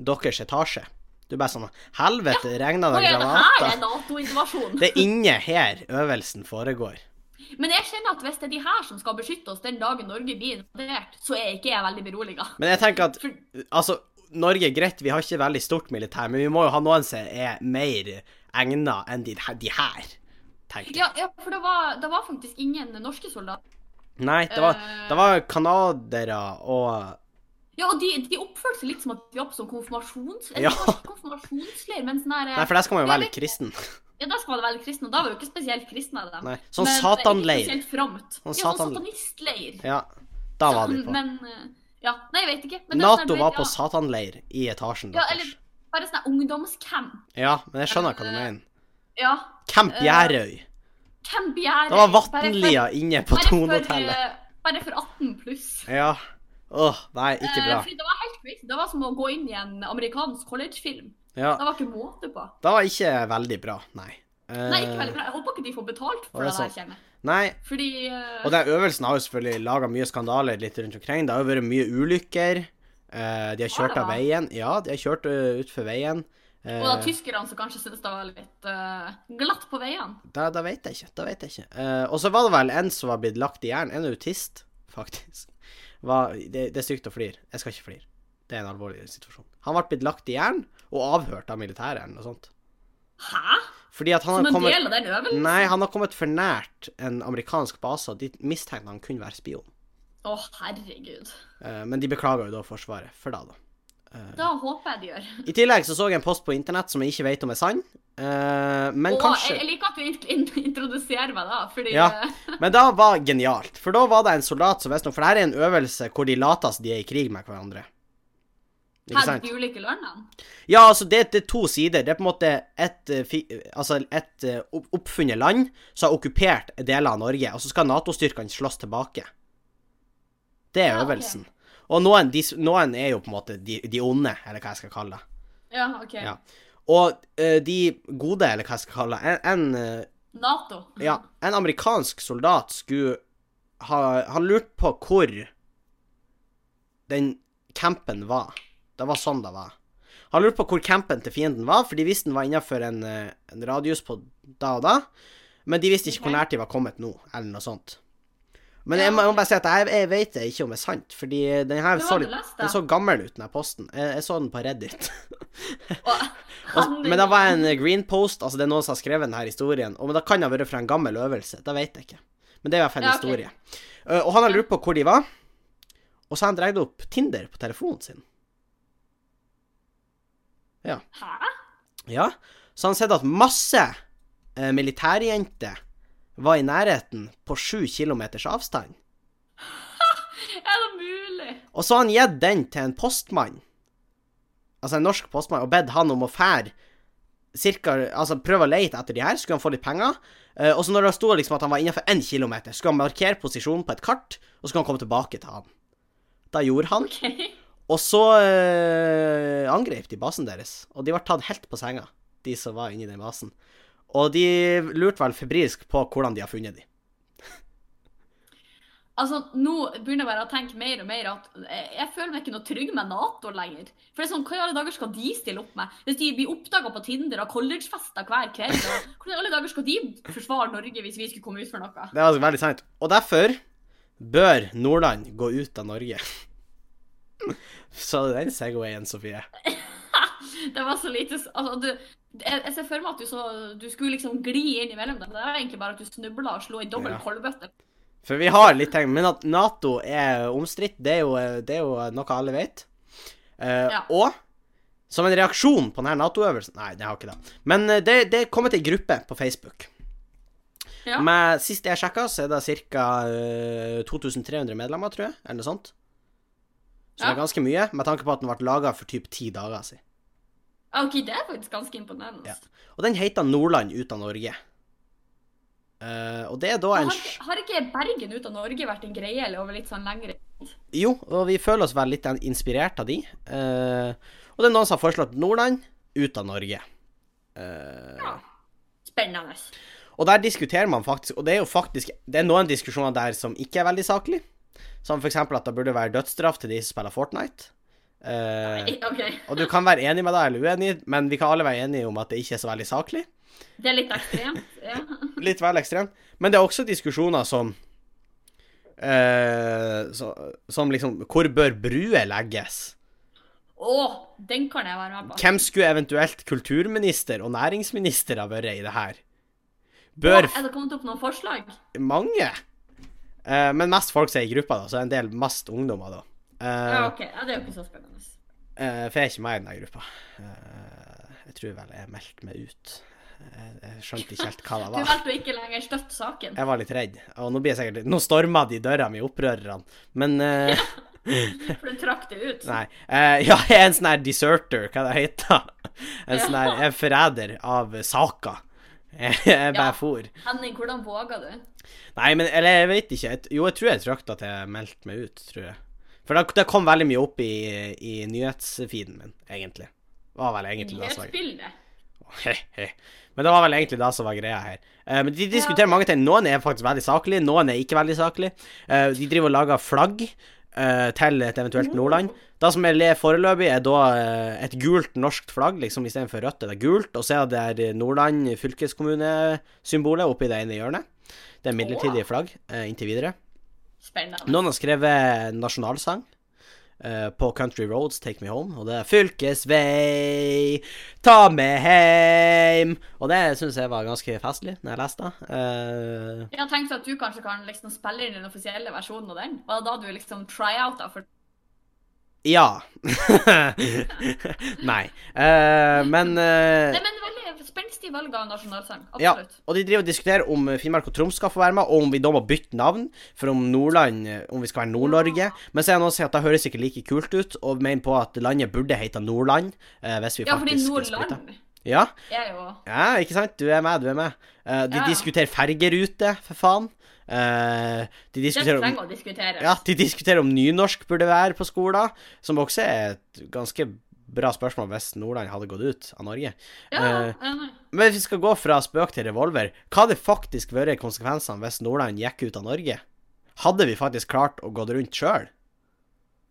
Speaker 2: deres etasje. Du bare sånn Helvete, regna
Speaker 1: Og
Speaker 2: det
Speaker 1: ja, det her er
Speaker 2: granater?
Speaker 1: Nato-invasjon.
Speaker 2: Det er inne her øvelsen foregår.
Speaker 1: Men jeg kjenner at hvis det er de her som skal beskytte oss den dagen Norge blir invadert, så er ikke jeg veldig beroliga.
Speaker 2: Men jeg tenker at
Speaker 1: For-
Speaker 2: Altså, Norge, greit, vi har ikke veldig stort militær, men vi må jo ha noen som er mer egna enn de, de her, tenker jeg.
Speaker 1: Ja, ja, for det var, det var faktisk ingen norske soldater.
Speaker 2: Nei, det var,
Speaker 1: Eh.
Speaker 2: det var canadere og
Speaker 1: Ja, og de, de oppførte seg litt som at de jobbet som konfirmasjons...
Speaker 2: Ja.
Speaker 1: Ja. konfirmasjonsleir, men sånn her...
Speaker 2: Nei, for der skal man jo være litt kristen.
Speaker 1: Ja, der skal man være litt kristen, og da var jo ikke spesielt kristne av dem.
Speaker 2: Nei, Sånn
Speaker 1: Men, eh, Ikke
Speaker 2: satanleir.
Speaker 1: spesielt framt.
Speaker 2: Sånn
Speaker 1: ja, sånn
Speaker 2: satan-
Speaker 1: satanistleir.
Speaker 2: Ja, da var de på.
Speaker 1: Men, eh, ja, nei, jeg vet ikke. Men det er sånn
Speaker 2: Nato
Speaker 1: her,
Speaker 2: var
Speaker 1: ja,
Speaker 2: på satanleir i etasjen
Speaker 1: Ja,
Speaker 2: deres.
Speaker 1: eller bare sånn her ungdomscamp.
Speaker 2: Ja, men jeg skjønner hva du mener.
Speaker 1: Ja,
Speaker 2: Camp
Speaker 1: Eh,
Speaker 2: Gjerøy.
Speaker 1: camp gjerde.
Speaker 2: Det var Vatnlia inne på
Speaker 1: eh,
Speaker 2: Tonehotellet.
Speaker 1: Bare for 18 pluss.
Speaker 2: Ja. Åh, nei, ikke
Speaker 1: Eh,
Speaker 2: bra.
Speaker 1: fordi det var helt crazy. Det var som å gå inn i en amerikansk collegefilm.
Speaker 2: Ja,
Speaker 1: Det var ikke måte på.
Speaker 2: det var ikke veldig bra, nei. Eh,
Speaker 1: Nei, ikke veldig bra. Jeg håper ikke de får betalt
Speaker 2: var
Speaker 1: for det
Speaker 2: sånn.
Speaker 1: der, kjenner jeg.
Speaker 2: Nei,
Speaker 1: Fordi eh,
Speaker 2: og den øvelsen har jo selvfølgelig laga mye skandaler litt rundt omkring. Det har jo vært mye ulykker. Eh, de har kjørt av
Speaker 1: Har det?
Speaker 2: veien. Ja, de har kjørt uh, eh, utfor veien. Eh,
Speaker 1: Og da tyskerne som kanskje syntes det var litt eh, glatt på veiene.
Speaker 2: da, da vet jeg ikke. Da vet jeg ikke. Eh, og så var det vel en som var blitt lagt i jern. En autist, faktisk. Var, det, det er stygt å flire. Jeg skal ikke flire. Det er en alvorlig situasjon. Han ble blitt lagt i jern og avhørt av militæret eller noe sånt.
Speaker 1: Hæ?
Speaker 2: Fordi at han
Speaker 1: Som
Speaker 2: har
Speaker 1: en
Speaker 2: kommet
Speaker 1: del av liksom. den øvelsen?
Speaker 2: Nei, han har kommet for nært en amerikansk base, og de mistenkte han kunne være spion.
Speaker 1: Å, herregud.
Speaker 2: Eh, men de beklaga jo da Forsvaret for det, da.
Speaker 1: Da håper jeg de gjør.
Speaker 2: I tillegg så så jeg en post på internett som jeg ikke vet om er sann, eh, men
Speaker 1: Og jeg,
Speaker 2: kanskje
Speaker 1: jeg liker at du int- int- introduserer meg da, fordi
Speaker 2: Ja.
Speaker 1: eh,
Speaker 2: Men da var genialt, for da var det en soldat som visstnok For det her er en øvelse hvor de later som de er i krig med hverandre. Ikke
Speaker 1: her
Speaker 2: sant?
Speaker 1: de ulike landene.
Speaker 2: Ja, altså, det, det er to sider. Det er på en måte et, eh, fi, altså et eh, opp- oppfunnet land som har okkupert deler av Norge, og så skal Nato-styrkene slåss tilbake. Det er
Speaker 1: Ja, ok.
Speaker 2: øvelsen. Og noen, de, s- noen er jo på en måte de, de onde, eller hva jeg skal kalle det.
Speaker 1: Ja, OK.
Speaker 2: Ja. Og eh, de gode, eller hva jeg skal kalle det En, en, eh,
Speaker 1: Nato.
Speaker 2: ja, en amerikansk soldat skulle ha Han lurte på hvor den campen var. Det var sånn det var. Han lurte på hvor campen til fienden var, for de visste den var innenfor en, eh, en radius på da og da. Men de visste ikke hvor
Speaker 1: Ok.
Speaker 2: nært de var kommet nå, eller noe sånt. Men
Speaker 1: Ja,
Speaker 2: jeg må, jeg må
Speaker 1: ok.
Speaker 2: bare si at jeg, jeg vet det ikke om det er sant, fordi den her
Speaker 1: Du
Speaker 2: så,
Speaker 1: hadde
Speaker 2: litt,
Speaker 1: lest det.
Speaker 2: den så gammel ut, den her posten. Jeg, jeg så den på Reddit.
Speaker 1: Og,
Speaker 2: Og, men det var en eh, green post, altså det er noen som har skrevet denne historien. Og, men det kan ha vært fra en gammel øvelse, det vet jeg ikke. Men det er i hvert fall en
Speaker 1: Ja, ok.
Speaker 2: historie. Eh, og han har lurt på hvor de var, og så har han dreid opp Tinder på telefonen sin.
Speaker 1: Hæ?
Speaker 2: Ja. Så han har sett at masse eh, militærjenter var i nærheten på sju kilometers avstand.
Speaker 1: Er det mulig?
Speaker 2: Og så har han gitt den til en postmann, altså en norsk postmann, og bedt han om å fære cirka, altså prøve å lete etter de her, skulle han få litt penger. Eh, og så når det sto liksom at han var innenfor én kilometer, skulle han markere posisjonen på et kart, og så skulle han komme tilbake til han. Da gjorde han,
Speaker 1: OK.
Speaker 2: og så eh, angrep de basen deres, og de ble tatt helt på senga, de som var inni den basen. Og de lurte vel febrilsk på hvordan de har funnet de.
Speaker 1: Altså, nå begynner jeg bare å tenke mer og mer at eh, jeg føler meg ikke noe trygg med Nato lenger. For det er sånn, hva i alle dager skal de stille opp med? Hvis de blir oppdaga på Tinder og collegefester hver kveld, og hvordan i alle dager skal de forsvare Norge hvis vi skulle komme ut for noe?
Speaker 2: Det var veldig sant. Og derfor bør Nordland gå ut av Norge. Så det er den Segwayen, Sofie.
Speaker 1: Det var så lite s- Altså, du jeg jeg ser for meg at du, så, du skulle liksom gli inn imellom dem. Det var egentlig bare at du snubla og slo i dobbel
Speaker 2: Ja.
Speaker 1: kolbøtte.
Speaker 2: For vi har litt ting, men at Nato er omstridt, det er jo, det er jo noe alle vet. Eh,
Speaker 1: Ja.
Speaker 2: Og som en reaksjon på denne Nato-øvelsen Nei, det har ikke det. Men eh, det, det er kommet ei gruppe på Facebook.
Speaker 1: Ja.
Speaker 2: Men sist jeg sjekka, så er det eh, ca. 2300 medlemmer, tror jeg. Eller noe sånt. Så det
Speaker 1: Ja.
Speaker 2: er ganske mye, med tanke på at den ble laga for typ ti dager siden.
Speaker 1: Ja, OK, det er faktisk ganske imponerende. altså.
Speaker 2: Ja. Og den heter Nordland ut av Norge. Eh, og det er da en
Speaker 1: Har,
Speaker 2: sj-
Speaker 1: har ikke Bergen ut av Norge vært en greie eller over litt sånn lengre
Speaker 2: Jo, og vi føler oss vel litt inspirert av de. Eh, og det er noen som har foreslått Nordland ut av Norge. Eh,
Speaker 1: Ja. Spennende.
Speaker 2: og der diskuterer man faktisk Og det er jo faktisk Det er noen diskusjoner der som ikke er veldig saklig. Som f.eks. at det burde være dødsstraff til de som spiller Fortnite. Eh,
Speaker 1: OK.
Speaker 2: og du kan være enig med deg eller uenig, men vi kan alle være enige om at det ikke er så veldig saklig.
Speaker 1: Det er litt ekstremt. Ja.
Speaker 2: litt vel ekstrem. Men det er også diskusjoner som eh, så, Som liksom Hvor bør bruer legges?
Speaker 1: Å, den kan jeg være med på.
Speaker 2: Hvem skulle eventuelt kulturminister og næringsminister ha vært i det her?
Speaker 1: Å,
Speaker 2: Bør
Speaker 1: er det kommet opp noen forslag?
Speaker 2: mange? Eh, men mest folk som er i gruppa, da, så er det en del mest ungdommer, da. Eh,
Speaker 1: Ja, OK. Ja, det er jo ikke så spennende.
Speaker 2: eh, for jeg er ikke med i denne gruppa. Eh, jeg tror vel jeg meldte meg ut. Jeg, jeg skjønte ikke helt hva det
Speaker 1: Du
Speaker 2: var.
Speaker 1: valgte å ikke lenger støtte saken.
Speaker 2: Jeg var litt redd. Og nå blir jeg sikkert Nå stormer de døra mi, opprørerne. Men eh,
Speaker 1: For du trakk det ut.
Speaker 2: Nei. eh, ja, jeg er en sånn her deserter, hva det heter. En sånn her
Speaker 1: Ja.
Speaker 2: jeg er forræder av saka. Jeg, jeg bare
Speaker 1: Ja.
Speaker 2: for.
Speaker 1: Henning, hvordan våga du?
Speaker 2: Nei, men eller jeg vet ikke. Jeg, t- jo, jeg tror jeg trakk at jeg meldte meg ut, tror jeg. For det, det kom veldig mye opp i, i nyhetsfeeden min, egentlig. Det var vel egentlig det som var
Speaker 1: Nyhetsbildet.
Speaker 2: Hehe. Men det var vel egentlig det som var greia her. Eh, men de diskuterer mange ting. Noen er faktisk veldig saklige, noen er ikke veldig saklige. Eh, de driver og lager flagg. Eh, eh, til et eventuelt Nordland. Det som er le foreløpig, er da eh, et gult norsk flagg, liksom istedenfor rødt er det gult, og så er det der Nordland fylkeskommunesymbolet oppi det ene hjørnet. Det er midlertidige flagg eh, inntil videre.
Speaker 1: Spennende.
Speaker 2: Noen har skrevet nasjonalsang eh, på Country Roads, Take Me Home, og det er Fylkesvei, ta meg heim. Og det syns jeg var ganske festlig når jeg leste det. Eh,
Speaker 1: Jeg har tenkt at du kanskje kan liksom spille inn den offisielle versjonen av den. Var det da du liksom tryouta for
Speaker 2: Eh. ja. Nei. Eh, men eh,
Speaker 1: Nei, men veldig spenstig valg av nasjonalsang.
Speaker 2: Ja,
Speaker 1: Absolutt.
Speaker 2: og de driver og diskuterer om Finnmark og Troms skal få være med, og om vi da må bytte navn, for om Nordland eh, Om vi skal være Nord-Norge. Men så er det noen som sier at det høres ikke like kult ut, og mener på at landet burde hete Nordland. eh, hvis vi
Speaker 1: Ja, fordi
Speaker 2: faktisk splitter.
Speaker 1: Nordland
Speaker 2: Ja.
Speaker 1: er jo
Speaker 2: ja, ikke sant? Du er med, du er med. Eh, de
Speaker 1: Ja.
Speaker 2: diskuterer fergerute, for faen. Eh, de
Speaker 1: Det
Speaker 2: diskuterer om
Speaker 1: trenger å diskutere.
Speaker 2: ja, de diskuterer om nynorsk burde være på skolen, som også er et ganske bra spørsmål hvis Nordland hadde gått ut av Norge.
Speaker 1: Ja,
Speaker 2: Eh,
Speaker 1: enig.
Speaker 2: men hvis vi skal gå fra spøk til revolver, hva hadde faktisk vært konsekvensene hvis Nordland gikk ut av Norge? Hadde vi faktisk klart å gå rundt sjøl?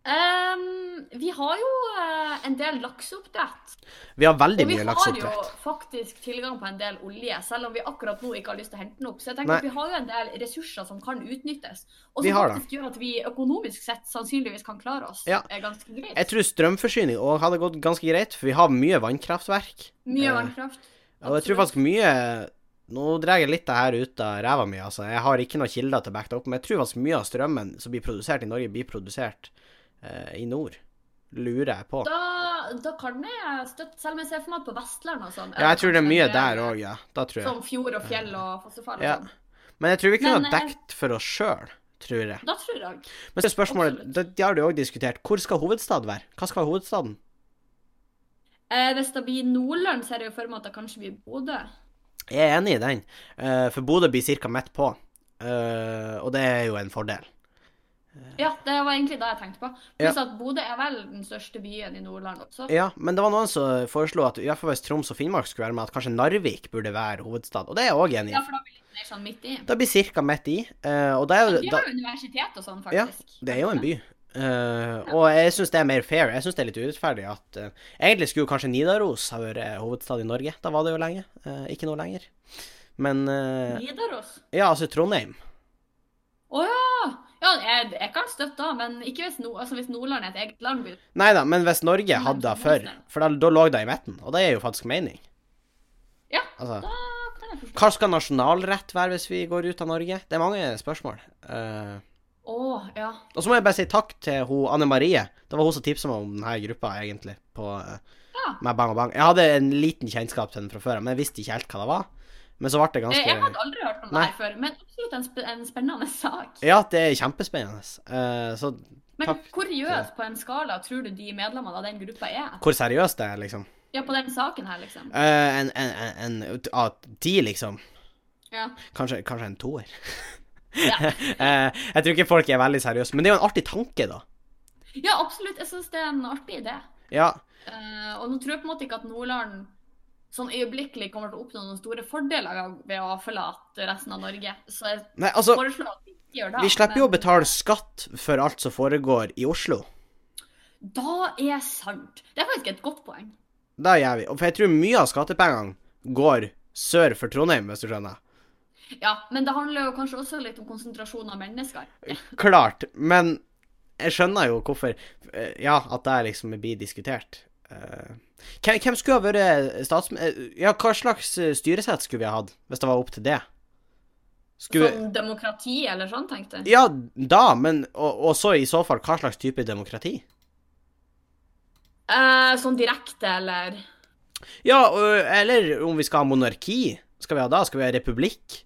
Speaker 1: Ehm, vi har jo eh, en del lakseoppdrett.
Speaker 2: Vi har veldig
Speaker 1: Og vi
Speaker 2: mye
Speaker 1: har jo
Speaker 2: lakseoppdrett.
Speaker 1: faktisk tilgang på en del olje, selv om vi akkurat nå ikke har lyst til å hente den opp. Så jeg
Speaker 2: Nei.
Speaker 1: tenker at vi har jo en del ressurser som kan utnyttes, og
Speaker 2: Vi
Speaker 1: som
Speaker 2: har
Speaker 1: faktisk gjør at vi økonomisk sett sannsynligvis kan klare oss
Speaker 2: Ja.
Speaker 1: eh, ganske greit.
Speaker 2: Jeg tror strømforsyning òg hadde gått ganske greit, for vi har mye vannkraftverk. eh,
Speaker 1: Mye vannkraft.
Speaker 2: Og jeg tror
Speaker 1: Absolutt.
Speaker 2: faktisk mye Nå drar jeg litt det her ut av ræva mi, altså. Jeg har ikke noen kilder til å backe det opp, men jeg tror faktisk mye av strømmen som blir produsert i Norge, blir produsert eh, i nord. Lurer jeg på.
Speaker 1: Da, da kan jeg støtte, selv om jeg ser for meg at på Vestlandet og sånn
Speaker 2: Ja, jeg tror det er mye
Speaker 1: kanskje
Speaker 2: der òg, ja. Da tror jeg.
Speaker 1: Som fjord og fjell og fossefall og
Speaker 2: Ja.
Speaker 1: sånn.
Speaker 2: Men jeg tror vi kunne
Speaker 1: Men,
Speaker 2: ha
Speaker 1: eh,
Speaker 2: dekket for oss sjøl, tror jeg.
Speaker 1: Da tror jeg
Speaker 2: Men så er spørsmålet,
Speaker 1: absolutt.
Speaker 2: det, de har det jo òg diskutert, hvor skal hovedstad være? Hva skal være hovedstaden?
Speaker 1: eh, Hvis det blir Nordland, ser jeg jo for meg at det kanskje blir Bodø.
Speaker 2: Jeg er enig i den, eh, for Bodø blir ca. midt på, eh, og det er jo en fordel.
Speaker 1: Ja, det var egentlig det jeg tenkte på.
Speaker 2: Ja.
Speaker 1: Pluss at Bodø er vel den største byen i Nordland også.
Speaker 2: Ja, men det var noen som foreslo at i hvert fall hvis Troms og Finnmark skulle være med, at kanskje Narvik burde være hovedstad, og det er jeg òg enig i.
Speaker 1: Ja, for da blir det mer sånn midt i.
Speaker 2: Det blir ca. midt i, eh, og det er jo
Speaker 1: Vi
Speaker 2: da,
Speaker 1: har jo universitet og sånn,
Speaker 2: Ja,
Speaker 1: faktisk.
Speaker 2: Det er jo en by. Eh, og jeg syns det er mer fair. Jeg syns det er litt urettferdig at eh, Egentlig skulle jo kanskje Nidaros ha vært eh, hovedstad i Norge. Da var det jo lenge. Eh, ikke nå lenger. Men eh,
Speaker 1: Nidaros.
Speaker 2: Ja, altså Trondheim.
Speaker 1: Å ja! Ja, jeg, jeg kan støtte det, men ikke hvis, no, altså, hvis Nordland er et eget land. blir-
Speaker 2: Nei da, men hvis Norge hadde det før, for da, da lå det i midten, og det gir jo faktisk mening.
Speaker 1: Ja,
Speaker 2: Altså,
Speaker 1: da kan jeg forstå.
Speaker 2: hva skal nasjonalrett være hvis vi går ut av Norge? Det er mange spørsmål. Eh,
Speaker 1: Å, ja.
Speaker 2: og så må jeg bare si takk til hun Anne Marie. Det var hun som tipsa meg om denne gruppa, egentlig. På, eh,
Speaker 1: Ja.
Speaker 2: Med Bang og Bang. Jeg hadde en liten kjennskap til den fra før, men jeg visste ikke helt hva det var. Men så ble det
Speaker 1: Eh, Jeg
Speaker 2: ganske
Speaker 1: hadde aldri hørt om det
Speaker 2: Nei.
Speaker 1: her før, men absolutt en, sp en spennende sak.
Speaker 2: Ja, det er kjempespennende. Eh, så
Speaker 1: Men
Speaker 2: takk.
Speaker 1: hvor seriøs på en skala tror du de medlemmene av den gruppa er?
Speaker 2: hvor seriøst det er, liksom.
Speaker 1: Ja, på den saken her, liksom.
Speaker 2: Eh, en, en, en, en At de, liksom
Speaker 1: Ja.
Speaker 2: Kanskje, kanskje en toer.
Speaker 1: Ja.
Speaker 2: Eh, jeg tror ikke folk er veldig seriøse, men det er jo en artig tanke, da.
Speaker 1: ja, absolutt. Jeg syns det er en artig idé.
Speaker 2: Ja,
Speaker 1: Eh, og nå tror jeg på en måte ikke at Nordland sånn øyeblikkelig kommer til å oppnå noen store fordeler ved- ved å forlate resten av Norge. Så jeg
Speaker 2: Nei, altså,
Speaker 1: foreslår at vi ikke gjør det.
Speaker 2: vi slipper jo å
Speaker 1: men
Speaker 2: betale skatt for alt som foregår i Oslo.
Speaker 1: Da er sant. Det er faktisk et godt poeng.
Speaker 2: Da gjør vi. Og For jeg tror mye av skattepengene går sør for Trondheim, hvis du skjønner.
Speaker 1: Ja, men det handler jo kanskje også litt om konsentrasjon av mennesker.
Speaker 2: Klart, men jeg skjønner jo hvorfor eh, Ja, at det liksom blir diskutert. Eh, Hvem, hvem skulle ha vært statsminister Ja, hva slags eh, styresett skulle vi ha hatt, hvis det var opp til det? Skulle
Speaker 1: Som demokrati eller sånn, tenkte jeg.
Speaker 2: Ja, da, men og, og så i så fall, hva slags type demokrati?
Speaker 1: Eh, sånn direkte eller
Speaker 2: Ja, og, eller om vi skal ha monarki? Skal vi ha da? Skal vi ha republikk?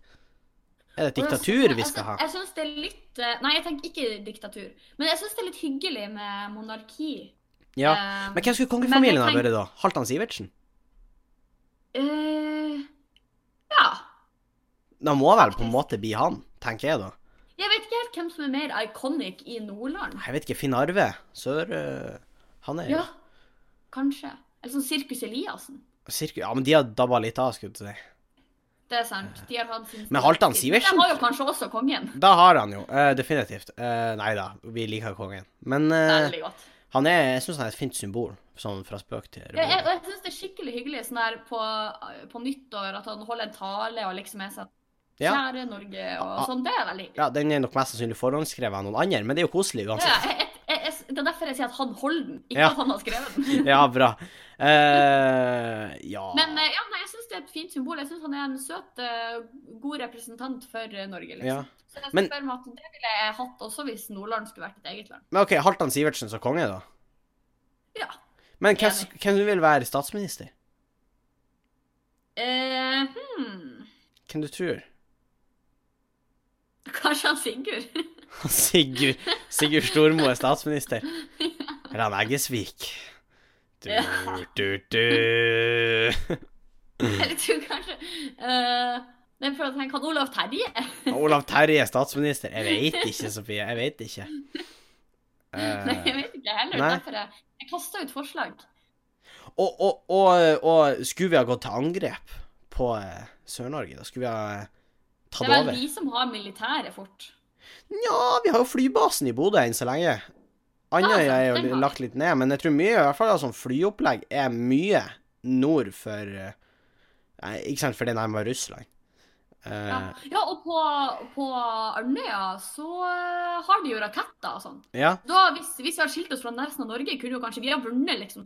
Speaker 2: Er det et diktatur vi skal ha?
Speaker 1: altså, Jeg, jeg syns det er litt eh, Nei, jeg tenker ikke diktatur. Men jeg syns det er litt hyggelig med monarki.
Speaker 2: Ja.
Speaker 1: Eh,
Speaker 2: Men hvem skulle
Speaker 1: men jeg
Speaker 2: kongefamilien ha
Speaker 1: tenk-
Speaker 2: vært da? Halvdan Sivertsen?
Speaker 1: eh, ja.
Speaker 2: Da må vel på en måte bli han, tenker jeg da.
Speaker 1: Jeg vet ikke helt hvem som er mer iconic i Nordland.
Speaker 2: Jeg vet ikke, Finn Arve Sør... øh, han er jo
Speaker 1: Ja, kanskje. Eller sånn Sirkus Eliassen.
Speaker 2: Sirku- Ja, men de har dabba litt av, skulle jeg til å si.
Speaker 1: Det er sant. De har hatt sin
Speaker 2: Men Halvdan Sivertsen?
Speaker 1: Det har jo kanskje også kongen.
Speaker 2: Da har han jo, eh, definitivt. Uh, nei da, vi liker kongen. Men eh,
Speaker 1: Veldig godt.
Speaker 2: han er, jeg syns han er et fint symbol, sånn fra spøk til
Speaker 1: Ja, jeg,
Speaker 2: revolusjon.
Speaker 1: og jeg syns det er skikkelig hyggelig sånn der på, på nyttår at han holder en tale og liksom er sånn
Speaker 2: Ja.
Speaker 1: Kjære Norge
Speaker 2: Ah.
Speaker 1: og sånn. Det er veldig hyggelig.
Speaker 2: ja, den er nok mest sannsynlig forhåndsskrevet av noen andre, men det er jo koselig
Speaker 1: Ja,
Speaker 2: uansett.
Speaker 1: jeg, jeg, jeg, jeg, det er derfor jeg sier at han holder den, ikke
Speaker 2: Ja. Ah.
Speaker 1: at han har skrevet den.
Speaker 2: Ja, bra. Eh, ja.
Speaker 1: Men eh, ja, nei, jeg syns det er et fint symbol. Jeg syns han er en søt, eh, god representant for eh, Norge,
Speaker 2: Ja.
Speaker 1: liksom. Så jeg
Speaker 2: Men-
Speaker 1: spør meg at det ville jeg hatt også hvis Nordland skulle vært et eget land.
Speaker 2: Men OK, Halvdan Sivertsen som konge, da?
Speaker 1: Ja.
Speaker 2: Men hvem, s- hvem du vil være statsminister?
Speaker 1: Eh, hmm.
Speaker 2: Hvem du tror?
Speaker 1: Kanskje han Sigurd?
Speaker 2: Sigurd, Sigurd Stormo er statsminister. Eller han Eggesvik. Du,
Speaker 1: Ja.
Speaker 2: du, du. Mm.
Speaker 1: Eller tror kanskje eh, Jeg prøver å tenke han Olav Terje.
Speaker 2: Olav Terje er statsminister. Jeg veit ikke, Sofie. Jeg veit ikke. Eh,
Speaker 1: Nei, jeg vet ikke heller.
Speaker 2: Nei.
Speaker 1: Derfor jeg, jeg kasta ut forslag.
Speaker 2: Eh, og, og, og, og skulle vi ha gått til angrep på eh, Sør-Norge? Da skulle vi ha
Speaker 1: Det
Speaker 2: tatt
Speaker 1: er vel
Speaker 2: over?
Speaker 1: vi som har militæret fort.
Speaker 2: Nja, vi har jo flybasen i Bodø enn så lenge. Andøya er
Speaker 1: Ja, sant, den
Speaker 2: jo
Speaker 1: har vi.
Speaker 2: lagt litt ned, men jeg tror mye, i hvert fall av sånn flyopplegg, er mye nord for eh, Nei, ikke sant, for det er nærmere Russland. Eh,
Speaker 1: Ja, ja og på, på Arnøya så eh, har de jo raketter og sånn.
Speaker 2: ja.
Speaker 1: Da, hvis, hvis vi hadde skilt oss fra resten av Norge, kunne jo kanskje vi ha vunnet liksom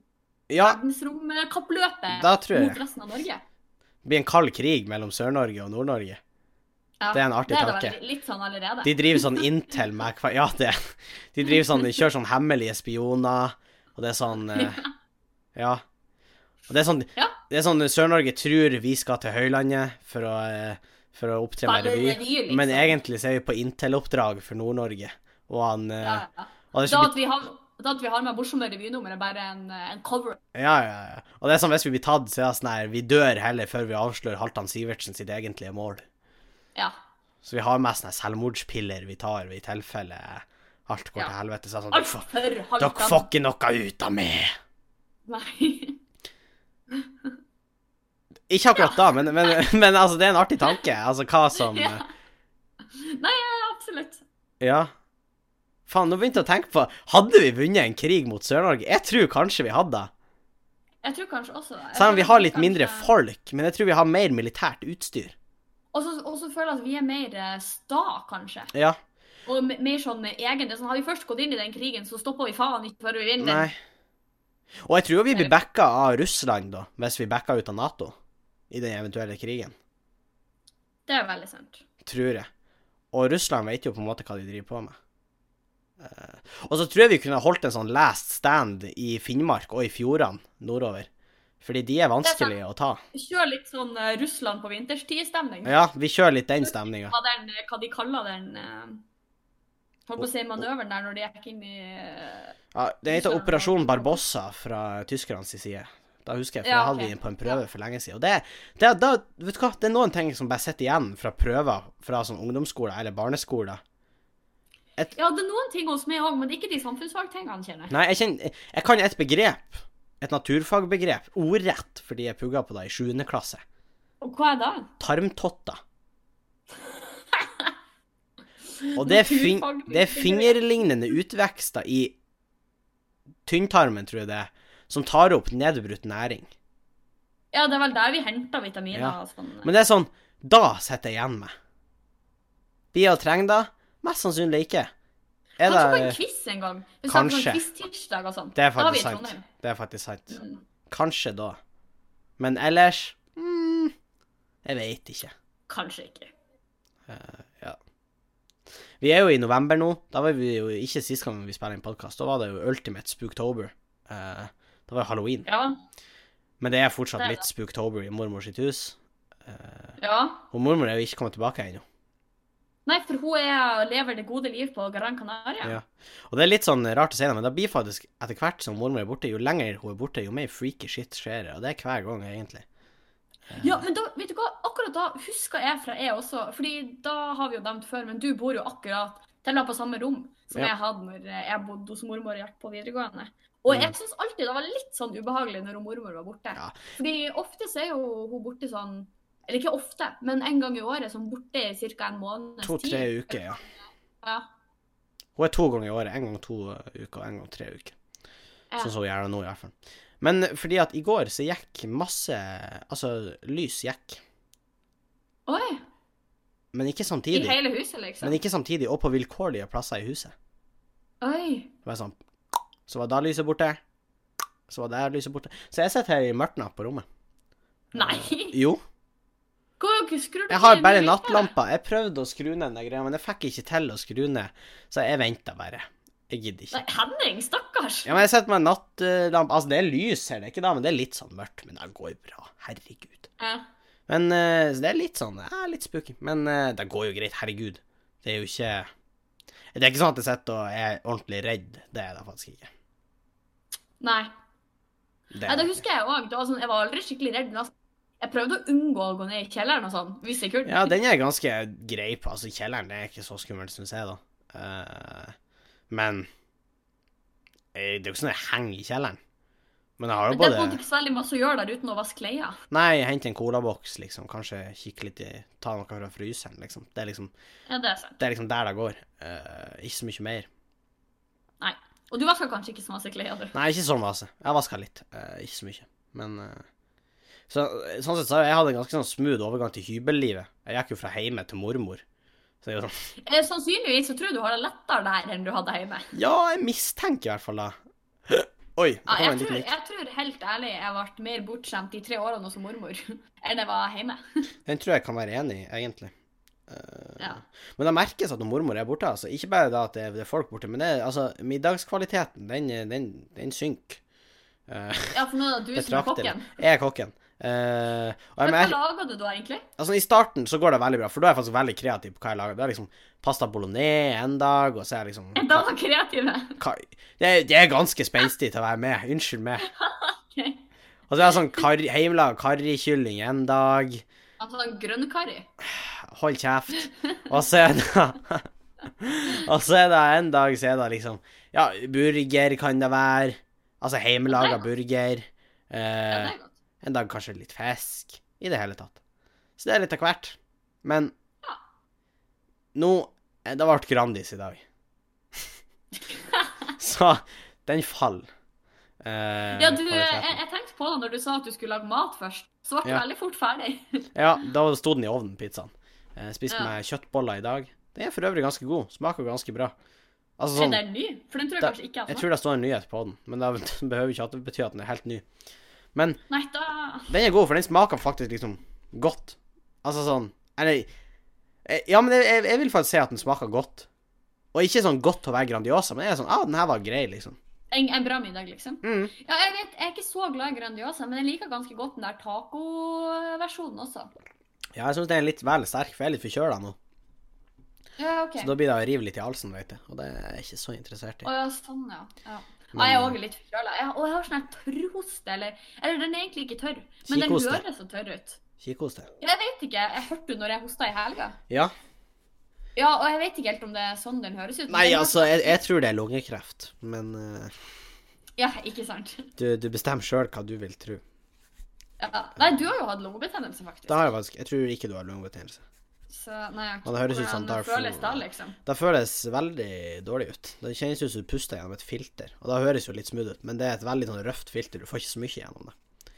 Speaker 2: ja.
Speaker 1: verdensromkappløpet
Speaker 2: Da tror jeg
Speaker 1: eh, mot resten av Norge.
Speaker 2: Det blir en kald krig mellom Sør-Norge og Nord-Norge.
Speaker 1: Ja,
Speaker 2: Det er en artig
Speaker 1: det
Speaker 2: tanke.
Speaker 1: vel litt sånn allerede.
Speaker 2: De driver sånn inntil meg hver Ja, det De driver sånn, de kjører sånn hemmelige spioner, og det er sånn eh, Ja. Og det er sånn,
Speaker 1: Ja.
Speaker 2: det er sånn Sør-Norge tror vi skal til høylandet for å, eh, for å opptre med
Speaker 1: Spiller
Speaker 2: revy,
Speaker 1: revy, liksom.
Speaker 2: men egentlig så er vi på inntil-oppdrag for Nord-Norge, og han eh,
Speaker 1: ja, ja.
Speaker 2: og det
Speaker 1: Da
Speaker 2: skulle
Speaker 1: at vi har, da at vi har med morsomme revynummer, er bare en, en cover.
Speaker 2: bli- ja, ja, ja. Og det er sånn hvis vi blir tatt, så er det sånn her Vi dør heller før vi avslører Halvdan Sivertsen sitt egentlige mål.
Speaker 1: Ja.
Speaker 2: Så vi har med sånne selvmordspiller vi tar i tilfelle alt går
Speaker 1: Ja.
Speaker 2: til helvete. Så er det sånn,
Speaker 1: Alt
Speaker 2: dere får-
Speaker 1: for
Speaker 2: dere får ikke noe ut av meg!
Speaker 1: Nei.
Speaker 2: Ikke akkurat da, men, men, men altså, det er en artig tanke. Altså, hva som
Speaker 1: Ja. Nei, ja, absolutt.
Speaker 2: Ja. Faen, nå begynte jeg å tenke på Hadde vi vunnet en krig mot Sør-Norge? Jeg tror kanskje vi hadde.
Speaker 1: Jeg tror kanskje også det. Jeg
Speaker 2: Selv om vi
Speaker 1: tror
Speaker 2: har litt mindre
Speaker 1: kanskje-
Speaker 2: folk, men jeg tror vi har mer militært utstyr.
Speaker 1: Og så- Og så føler jeg at vi er mer eh, sta, kanskje.
Speaker 2: Ja.
Speaker 1: Og me- mer sånn egen. Det er sånn, Har vi først gått inn i den krigen, så stopper vi faen ikke før vi vinner. den.
Speaker 2: Nei. Og jeg tror vi blir backa av Russland, da, hvis vi backa ut av Nato i den eventuelle krigen.
Speaker 1: Det er veldig sant.
Speaker 2: Tror jeg. Og Russland vet jo på en måte hva de driver på med. Eh, og så tror jeg vi kunne holdt en sånn last stand i Finnmark og i fjordene nordover. Fordi de er vanskelige å ta.
Speaker 1: Kjør litt sånn eh, Russland på vinterstid-stemning.
Speaker 2: Ja, vi kjører litt den stemninga.
Speaker 1: Hva, den, eh, hva de kaller den eh, Holdt på å si manøveren der når de gikk inn i eh,
Speaker 2: Ja, det heter Operasjon Barbossa fra tyskernes side. Da husker jeg, for
Speaker 1: Ja,
Speaker 2: da hadde vi
Speaker 1: ok.
Speaker 2: den på en prøve for lenge siden. Og det, det, da, vet du hva, det er noen ting som bare sitter igjen fra prøver fra sånn ungdomsskoler eller barneskoler.
Speaker 1: Ja, det er noen ting hos meg òg, men det er ikke de samfunnsfagtingene, kjenner jeg.
Speaker 2: Nei, jeg kjenner Jeg kan et begrep. Et naturfagbegrep. Ordrett, fordi jeg pugga på det i sjuende klasse.
Speaker 1: Og hva er det?
Speaker 2: Tarmtotter. Og det er, fin, det er fingerlignende utvekster i tynntarmen, tror jeg det er, som tar opp nedbrutt næring.
Speaker 1: Ja, det er vel der vi henter vitaminer
Speaker 2: Ja.
Speaker 1: og sånn.
Speaker 2: Men det er sånn Da sitter jeg igjen med. Blir jeg å trenge det? Mest sannsynlig ikke. Er
Speaker 1: Kanskje på
Speaker 2: det,
Speaker 1: en quiz en gang? Hvis
Speaker 2: Kanskje.
Speaker 1: Kanskje. Quiz tirsdag og sånn.
Speaker 2: det er
Speaker 1: Da har vi
Speaker 2: faktisk
Speaker 1: i
Speaker 2: sant.
Speaker 1: Trondheim.
Speaker 2: Det er faktisk sant.
Speaker 1: Mm.
Speaker 2: Kanskje da. Men ellers mm, Jeg veit ikke.
Speaker 1: Kanskje ikke.
Speaker 2: Vi er jo i november nå. Da var vi jo ikke sist gang vi spilte en podkast. Da var det jo Ultimate Spooktober. Eh, da var det halloween.
Speaker 1: Ja.
Speaker 2: Men det er fortsatt
Speaker 1: Det er
Speaker 2: litt Spooktober i mormors sitt hus.
Speaker 1: ja.
Speaker 2: Og mormor er jo ikke kommet tilbake ennå.
Speaker 1: Nei, for hun er, lever det gode liv på Gran Canaria.
Speaker 2: Ja. Og det er litt sånn rart å si det, men det blir faktisk etter hvert som mormor er borte, jo lenger hun er borte, jo mer freaky shit skjer det. Og det er hver gang, egentlig.
Speaker 1: Ja, men da, vet du hva, akkurat da husker jeg fra jeg også, fordi da har vi jo nevnt før, men du bor jo akkurat til på samme rom som
Speaker 2: Ja.
Speaker 1: jeg hadde når jeg bodde hos mormor og gikk på videregående.
Speaker 2: Mm.
Speaker 1: Og jeg syns alltid det var litt sånn ubehagelig når hun mormor var borte.
Speaker 2: Ja.
Speaker 1: Fordi ofte så er jo hun borte sånn Eller ikke ofte, men en gang i året, sånn borte i ca. en måneds
Speaker 2: To-tre
Speaker 1: tid.
Speaker 2: uker, ja.
Speaker 1: Ja.
Speaker 2: Hun er to ganger i året. En gang to uker, og en gang tre uker.
Speaker 1: Ja.
Speaker 2: Sånn som hun gjør det nå, i hvert fall. Men fordi at i går så gikk masse Altså, lys gikk.
Speaker 1: Oi!
Speaker 2: Men ikke
Speaker 1: I
Speaker 2: samtidig.
Speaker 1: hele huset, liksom?
Speaker 2: Men ikke samtidig, og på vilkårlige plasser i huset.
Speaker 1: Oi!
Speaker 2: Det var sånn Så var da lyset borte. Så var der lyset borte. Så jeg sitter her i mørtna på rommet.
Speaker 1: Nei!
Speaker 2: Jo.
Speaker 1: Hvor skrur du
Speaker 2: Jeg har
Speaker 1: ned
Speaker 2: bare
Speaker 1: lyset?
Speaker 2: nattlampa. Jeg prøvde å skru ned den greia, men jeg fikk ikke til å skru ned, så jeg venta bare. Jeg gidder ikke.
Speaker 1: Nei, Henning, stakkars!
Speaker 2: Ja, men jeg setter meg en nattlampe Altså, det er lys her, det er ikke da, men det er litt sånn mørkt. Men det går bra. Herregud.
Speaker 1: Ja.
Speaker 2: Men eh, Så det er litt sånn eh, Litt spooky. Men eh, det går jo greit. Herregud. Det er jo ikke Det er ikke sånn at jeg sitter og er ordentlig redd. Det er det faktisk ikke.
Speaker 1: Nei.
Speaker 2: Det
Speaker 1: Nei,
Speaker 2: er
Speaker 1: det
Speaker 2: det.
Speaker 1: husker jeg òg. Sånn, jeg var aldri skikkelig redd. men altså, jeg prøvde å unngå å gå ned i kjelleren og sånn, hvis jeg kunne.
Speaker 2: Ja, den er ganske grei på. Altså, kjelleren det er ikke så skummel, syns jeg, da. Eh, men eh, Det er jo ikke sånn at jeg henger i kjelleren. Men jeg har jo
Speaker 1: Men det er på en måte
Speaker 2: både
Speaker 1: ikke så veldig masse å gjøre der uten å vaske klær.
Speaker 2: Nei, hente en colaboks, liksom. Kanskje kikke litt i Ta noe fra fryseren, liksom. Det er liksom,
Speaker 1: Ja, det er sant.
Speaker 2: det er liksom der det går. Eh, ikke så mye mer.
Speaker 1: Nei. Og du vasker kanskje ikke så masse klær, du.
Speaker 2: Nei, ikke sånn vase. Jeg vaska litt. eh, ikke så mye. Men eh, så, Sånn sett så har jeg hatt en ganske sånn smooth overgang til hybellivet. Jeg gikk jo fra hjemme til mormor. Så det er jo sånn
Speaker 1: Eh, Sannsynligvis så tror jeg du har det lettere der enn du hadde hjemme.
Speaker 2: Ja, jeg mistenker i hvert fall det. Oi, nå
Speaker 1: Ja,
Speaker 2: kom en
Speaker 1: jeg,
Speaker 2: liten
Speaker 1: tror,
Speaker 2: lyd.
Speaker 1: jeg tror helt ærlig jeg ble mer bortskjemt de tre årene som mormor enn jeg var hjemme.
Speaker 2: Den tror jeg kan være enig i, egentlig. Eh,
Speaker 1: Ja.
Speaker 2: Men det merkes at når mormor er borte, altså. Ikke bare da at det er, det er folk borte, men det, er- altså, middagskvaliteten, den, den, den synker. Eh,
Speaker 1: Ja, for nå er det du som er
Speaker 2: betraktelig.
Speaker 1: kokken.
Speaker 2: Jeg er kokken. Eh, og jeg
Speaker 1: Men hva
Speaker 2: mer,
Speaker 1: lager du da, egentlig?
Speaker 2: altså, I starten så går det veldig bra, for da er jeg faktisk veldig kreativ på hva jeg lager. Det er liksom pasta bolognese en dag, og så er jeg liksom
Speaker 1: Er dere kreative?
Speaker 2: Ka- Det er, det er ganske spenstig til å være med. Unnskyld meg.
Speaker 1: Ok.
Speaker 2: Og så er det sånn kar, hjemmelaga karrikylling en dag.
Speaker 1: Altså sånn grønnkari?
Speaker 2: Hold kjeft. Og så er det Og så er det en dag så er det liksom Ja, burger kan det være. Altså hjemmelaga burger.
Speaker 1: Ja,
Speaker 2: Eh,
Speaker 1: det er godt.
Speaker 2: en dag kanskje litt fisk. I det hele tatt. Så det er litt av hvert. Men
Speaker 1: Ja.
Speaker 2: nå eh, Det ble Grandis i dag. så den faller. Eh,
Speaker 1: Ja, du, jeg,
Speaker 2: kvaliteten.
Speaker 1: jeg tenkte på det når du sa at du skulle lage mat først. Så ble du
Speaker 2: Ja.
Speaker 1: veldig fort ferdig.
Speaker 2: Ja, da sto den i ovnen, pizzaen. Eh, spiste
Speaker 1: Ja.
Speaker 2: med kjøttboller i dag. Den er for øvrig ganske god. Smaker ganske bra. Altså
Speaker 1: Er
Speaker 2: sånn
Speaker 1: den ny? For den tror jeg
Speaker 2: Da-
Speaker 1: kanskje ikke jeg
Speaker 2: Jeg
Speaker 1: har smakt.
Speaker 2: tror det står en nyhet på den, men det behøver ikke at det betyr at den er helt ny. Men
Speaker 1: Nei, da
Speaker 2: den er god, for den smaker faktisk liksom godt. Altså sånn Eller eh, Ja, men jeg, jeg- jeg vil faktisk si at den smaker godt. Og ikke sånn godt til å være Grandiosa, men det er sånn Ja, ah, den her var grei, liksom.
Speaker 1: en, en bra middag, liksom.
Speaker 2: Mm.
Speaker 1: Ja, jeg vet, jeg er ikke så glad i Grandiosa, men jeg liker ganske godt den der tacoversjonen også.
Speaker 2: Ja, jeg syns den er litt vel sterk, for jeg er litt forkjøla nå.
Speaker 1: Ja, OK.
Speaker 2: Så da blir det å rive litt i halsen, vet du. Og det er jeg ikke så interessert i.
Speaker 1: Å ja, sånn, ja. ja.
Speaker 2: Men-
Speaker 1: ja jeg er òg litt forkjøla. Jeg- Og jeg har sånn her tørrhoste, eller Eller den er egentlig ikke tørr, men den
Speaker 2: Kikhoste.
Speaker 1: høres så tørr ut.
Speaker 2: Kikos til.
Speaker 1: Jeg vet ikke. Jeg hørte jo når jeg hosta i helga.
Speaker 2: Ja.
Speaker 1: Ja, og jeg vet ikke helt om det er sånn den høres ut. men
Speaker 2: Nei,
Speaker 1: den høres-
Speaker 2: altså, jeg, jeg tror det er lungekreft, men eh,
Speaker 1: Ja, ikke sant.
Speaker 2: du, du bestemmer sjøl hva du vil tro.
Speaker 1: Ja. Nei, du har jo hatt lungebetennelse, faktisk.
Speaker 2: Da har jeg faktisk Jeg tror ikke du har lungebetennelse.
Speaker 1: Så, nei, jeg-
Speaker 2: Ja, det høres ut som
Speaker 1: hvordan
Speaker 2: Darth
Speaker 1: føles
Speaker 2: Vader.
Speaker 1: det, liksom?
Speaker 2: Det føles veldig dårlig ut. Det kjennes ut som du puster gjennom et filter, og det høres jo litt smooth ut, men det er et veldig sånn røft filter, du får ikke så mye gjennom det.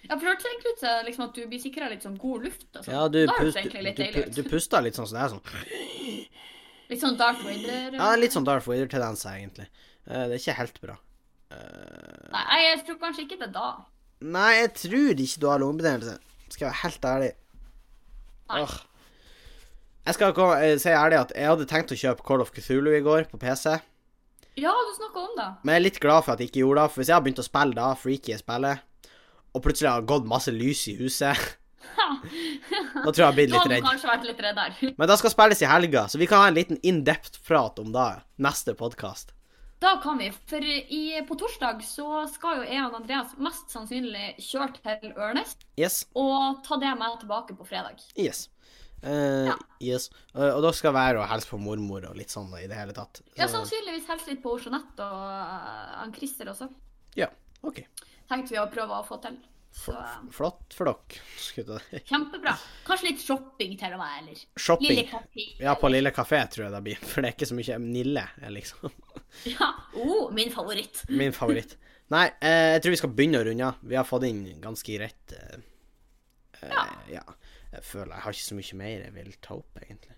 Speaker 1: Ja, for det hørtes egentlig ut som liksom, at du blir sikra litt sånn god luft og sånn.
Speaker 2: Ja, du,
Speaker 1: da høres
Speaker 2: pust,
Speaker 1: det
Speaker 2: du,
Speaker 1: egentlig litt
Speaker 2: du,
Speaker 1: deilig ut.
Speaker 2: pu- du puster litt sånn som det er sånn
Speaker 1: Litt sånn Darth Vader.
Speaker 2: Ja, litt sånn Darth Vader-tendenser, egentlig. Eh, Det er ikke helt bra. Eh,
Speaker 1: Nei, jeg tror kanskje ikke det da.
Speaker 2: Nei, jeg tror ikke du har lungebetennelse, skal jeg være helt ærlig.
Speaker 1: Nei.
Speaker 2: Åh. Jeg skal ikke eh, si ærlig at jeg hadde tenkt å kjøpe Call of Cthulhu i går på PC,
Speaker 1: Ja, du snakka om det.
Speaker 2: men jeg er litt glad for at jeg ikke gjorde det, for hvis jeg hadde begynt å spille da, freaky spillet, og plutselig har gått masse lys i huset Da tror jeg jeg har blitt
Speaker 1: Da
Speaker 2: litt
Speaker 1: hadde du
Speaker 2: redd.
Speaker 1: kanskje vært litt redd der.
Speaker 2: Men det skal spilles i helga, så vi kan ha en liten in-depth-prat om det neste podkast.
Speaker 1: Da kan vi, for i, på torsdag så skal jo jeg og Andreas mest sannsynlig kjøre til Ørnes
Speaker 2: Yes.
Speaker 1: og ta det med tilbake på fredag.
Speaker 2: Yes. Eh,
Speaker 1: Ja.
Speaker 2: yes. Eh, og da skal jeg være og hilse på mormor og litt sånn i det hele tatt.
Speaker 1: Ja, sånn. sannsynligvis helst litt på Oslo Nett og eh, han Christer også,
Speaker 2: ja. OK.
Speaker 1: tenkte vi å prøve å få til. Så eh,
Speaker 2: Flott for dere. skulle jeg si.
Speaker 1: kjempebra. Kanskje litt shopping til og med, eller? Lille
Speaker 2: Shopping.
Speaker 1: kafé.
Speaker 2: Ja, på Lille kafé tror jeg det blir, for det er ikke så mye Nille, eh, liksom.
Speaker 1: Ja. Oh, min favoritt.
Speaker 2: Min favoritt. Nei, eh, jeg tror vi skal begynne å runde av. Vi har fått inn ganske greit eh, eh,
Speaker 1: Ja.
Speaker 2: ja. Jeg føler jeg har ikke så mye mer jeg vil ta opp, egentlig.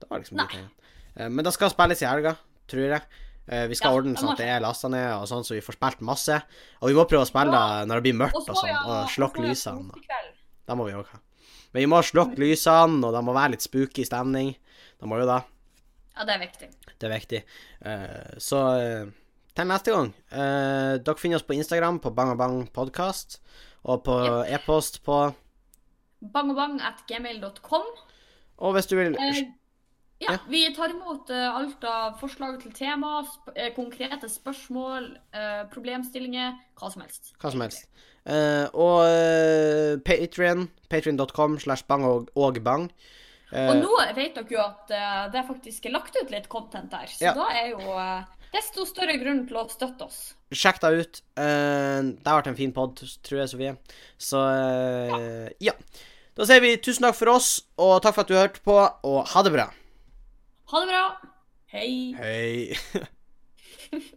Speaker 2: Det var liksom
Speaker 1: Nei.
Speaker 2: mye ting. Eh, men det skal spilles i helga, tror jeg. Eh, vi skal
Speaker 1: Ja,
Speaker 2: ordne
Speaker 1: det
Speaker 2: sånn
Speaker 1: må
Speaker 2: at det er lasta ned, og sånn, så vi får spilt masse. Og vi må prøve å spille
Speaker 1: Ja.
Speaker 2: når det blir mørkt og
Speaker 1: så, sånn.
Speaker 2: sånn,
Speaker 1: ja,
Speaker 2: og slokke
Speaker 1: så, ja,
Speaker 2: lysene.
Speaker 1: påskekveld.
Speaker 2: Det må vi òg ha. Men vi må slokke lysene, og det må være litt spooky stemning. Det må jo det.
Speaker 1: Ja, det er viktig.
Speaker 2: Det er viktig. Eh, så eh, til neste gang. Eh, dere finner oss på Instagram på bangabangpodkast, og på e-post på
Speaker 1: Bangobang at gmail.com.
Speaker 2: Og hvis du vil
Speaker 1: Eh, ja,
Speaker 2: Ja.
Speaker 1: vi tar imot eh, alt av forslag til tema, sp eh, konkrete spørsmål, eh, problemstillinger, hva som helst.
Speaker 2: hva som helst. Eh, og eh, Patreon, patreon.com slash bang og, og bang. Eh,
Speaker 1: Og nå vet dere jo at eh, det faktisk er lagt ut litt content der, så
Speaker 2: Ja.
Speaker 1: da er jo eh, desto større grunn til å støtte oss.
Speaker 2: Sjekk deg ut. Eh, det har vært en fin pod, tror jeg, Sofie. Så eh, ja. Da sier vi tusen takk for oss, og takk for at du hørte på, og ha det bra.
Speaker 1: Ha det bra! Hei!
Speaker 2: Hei.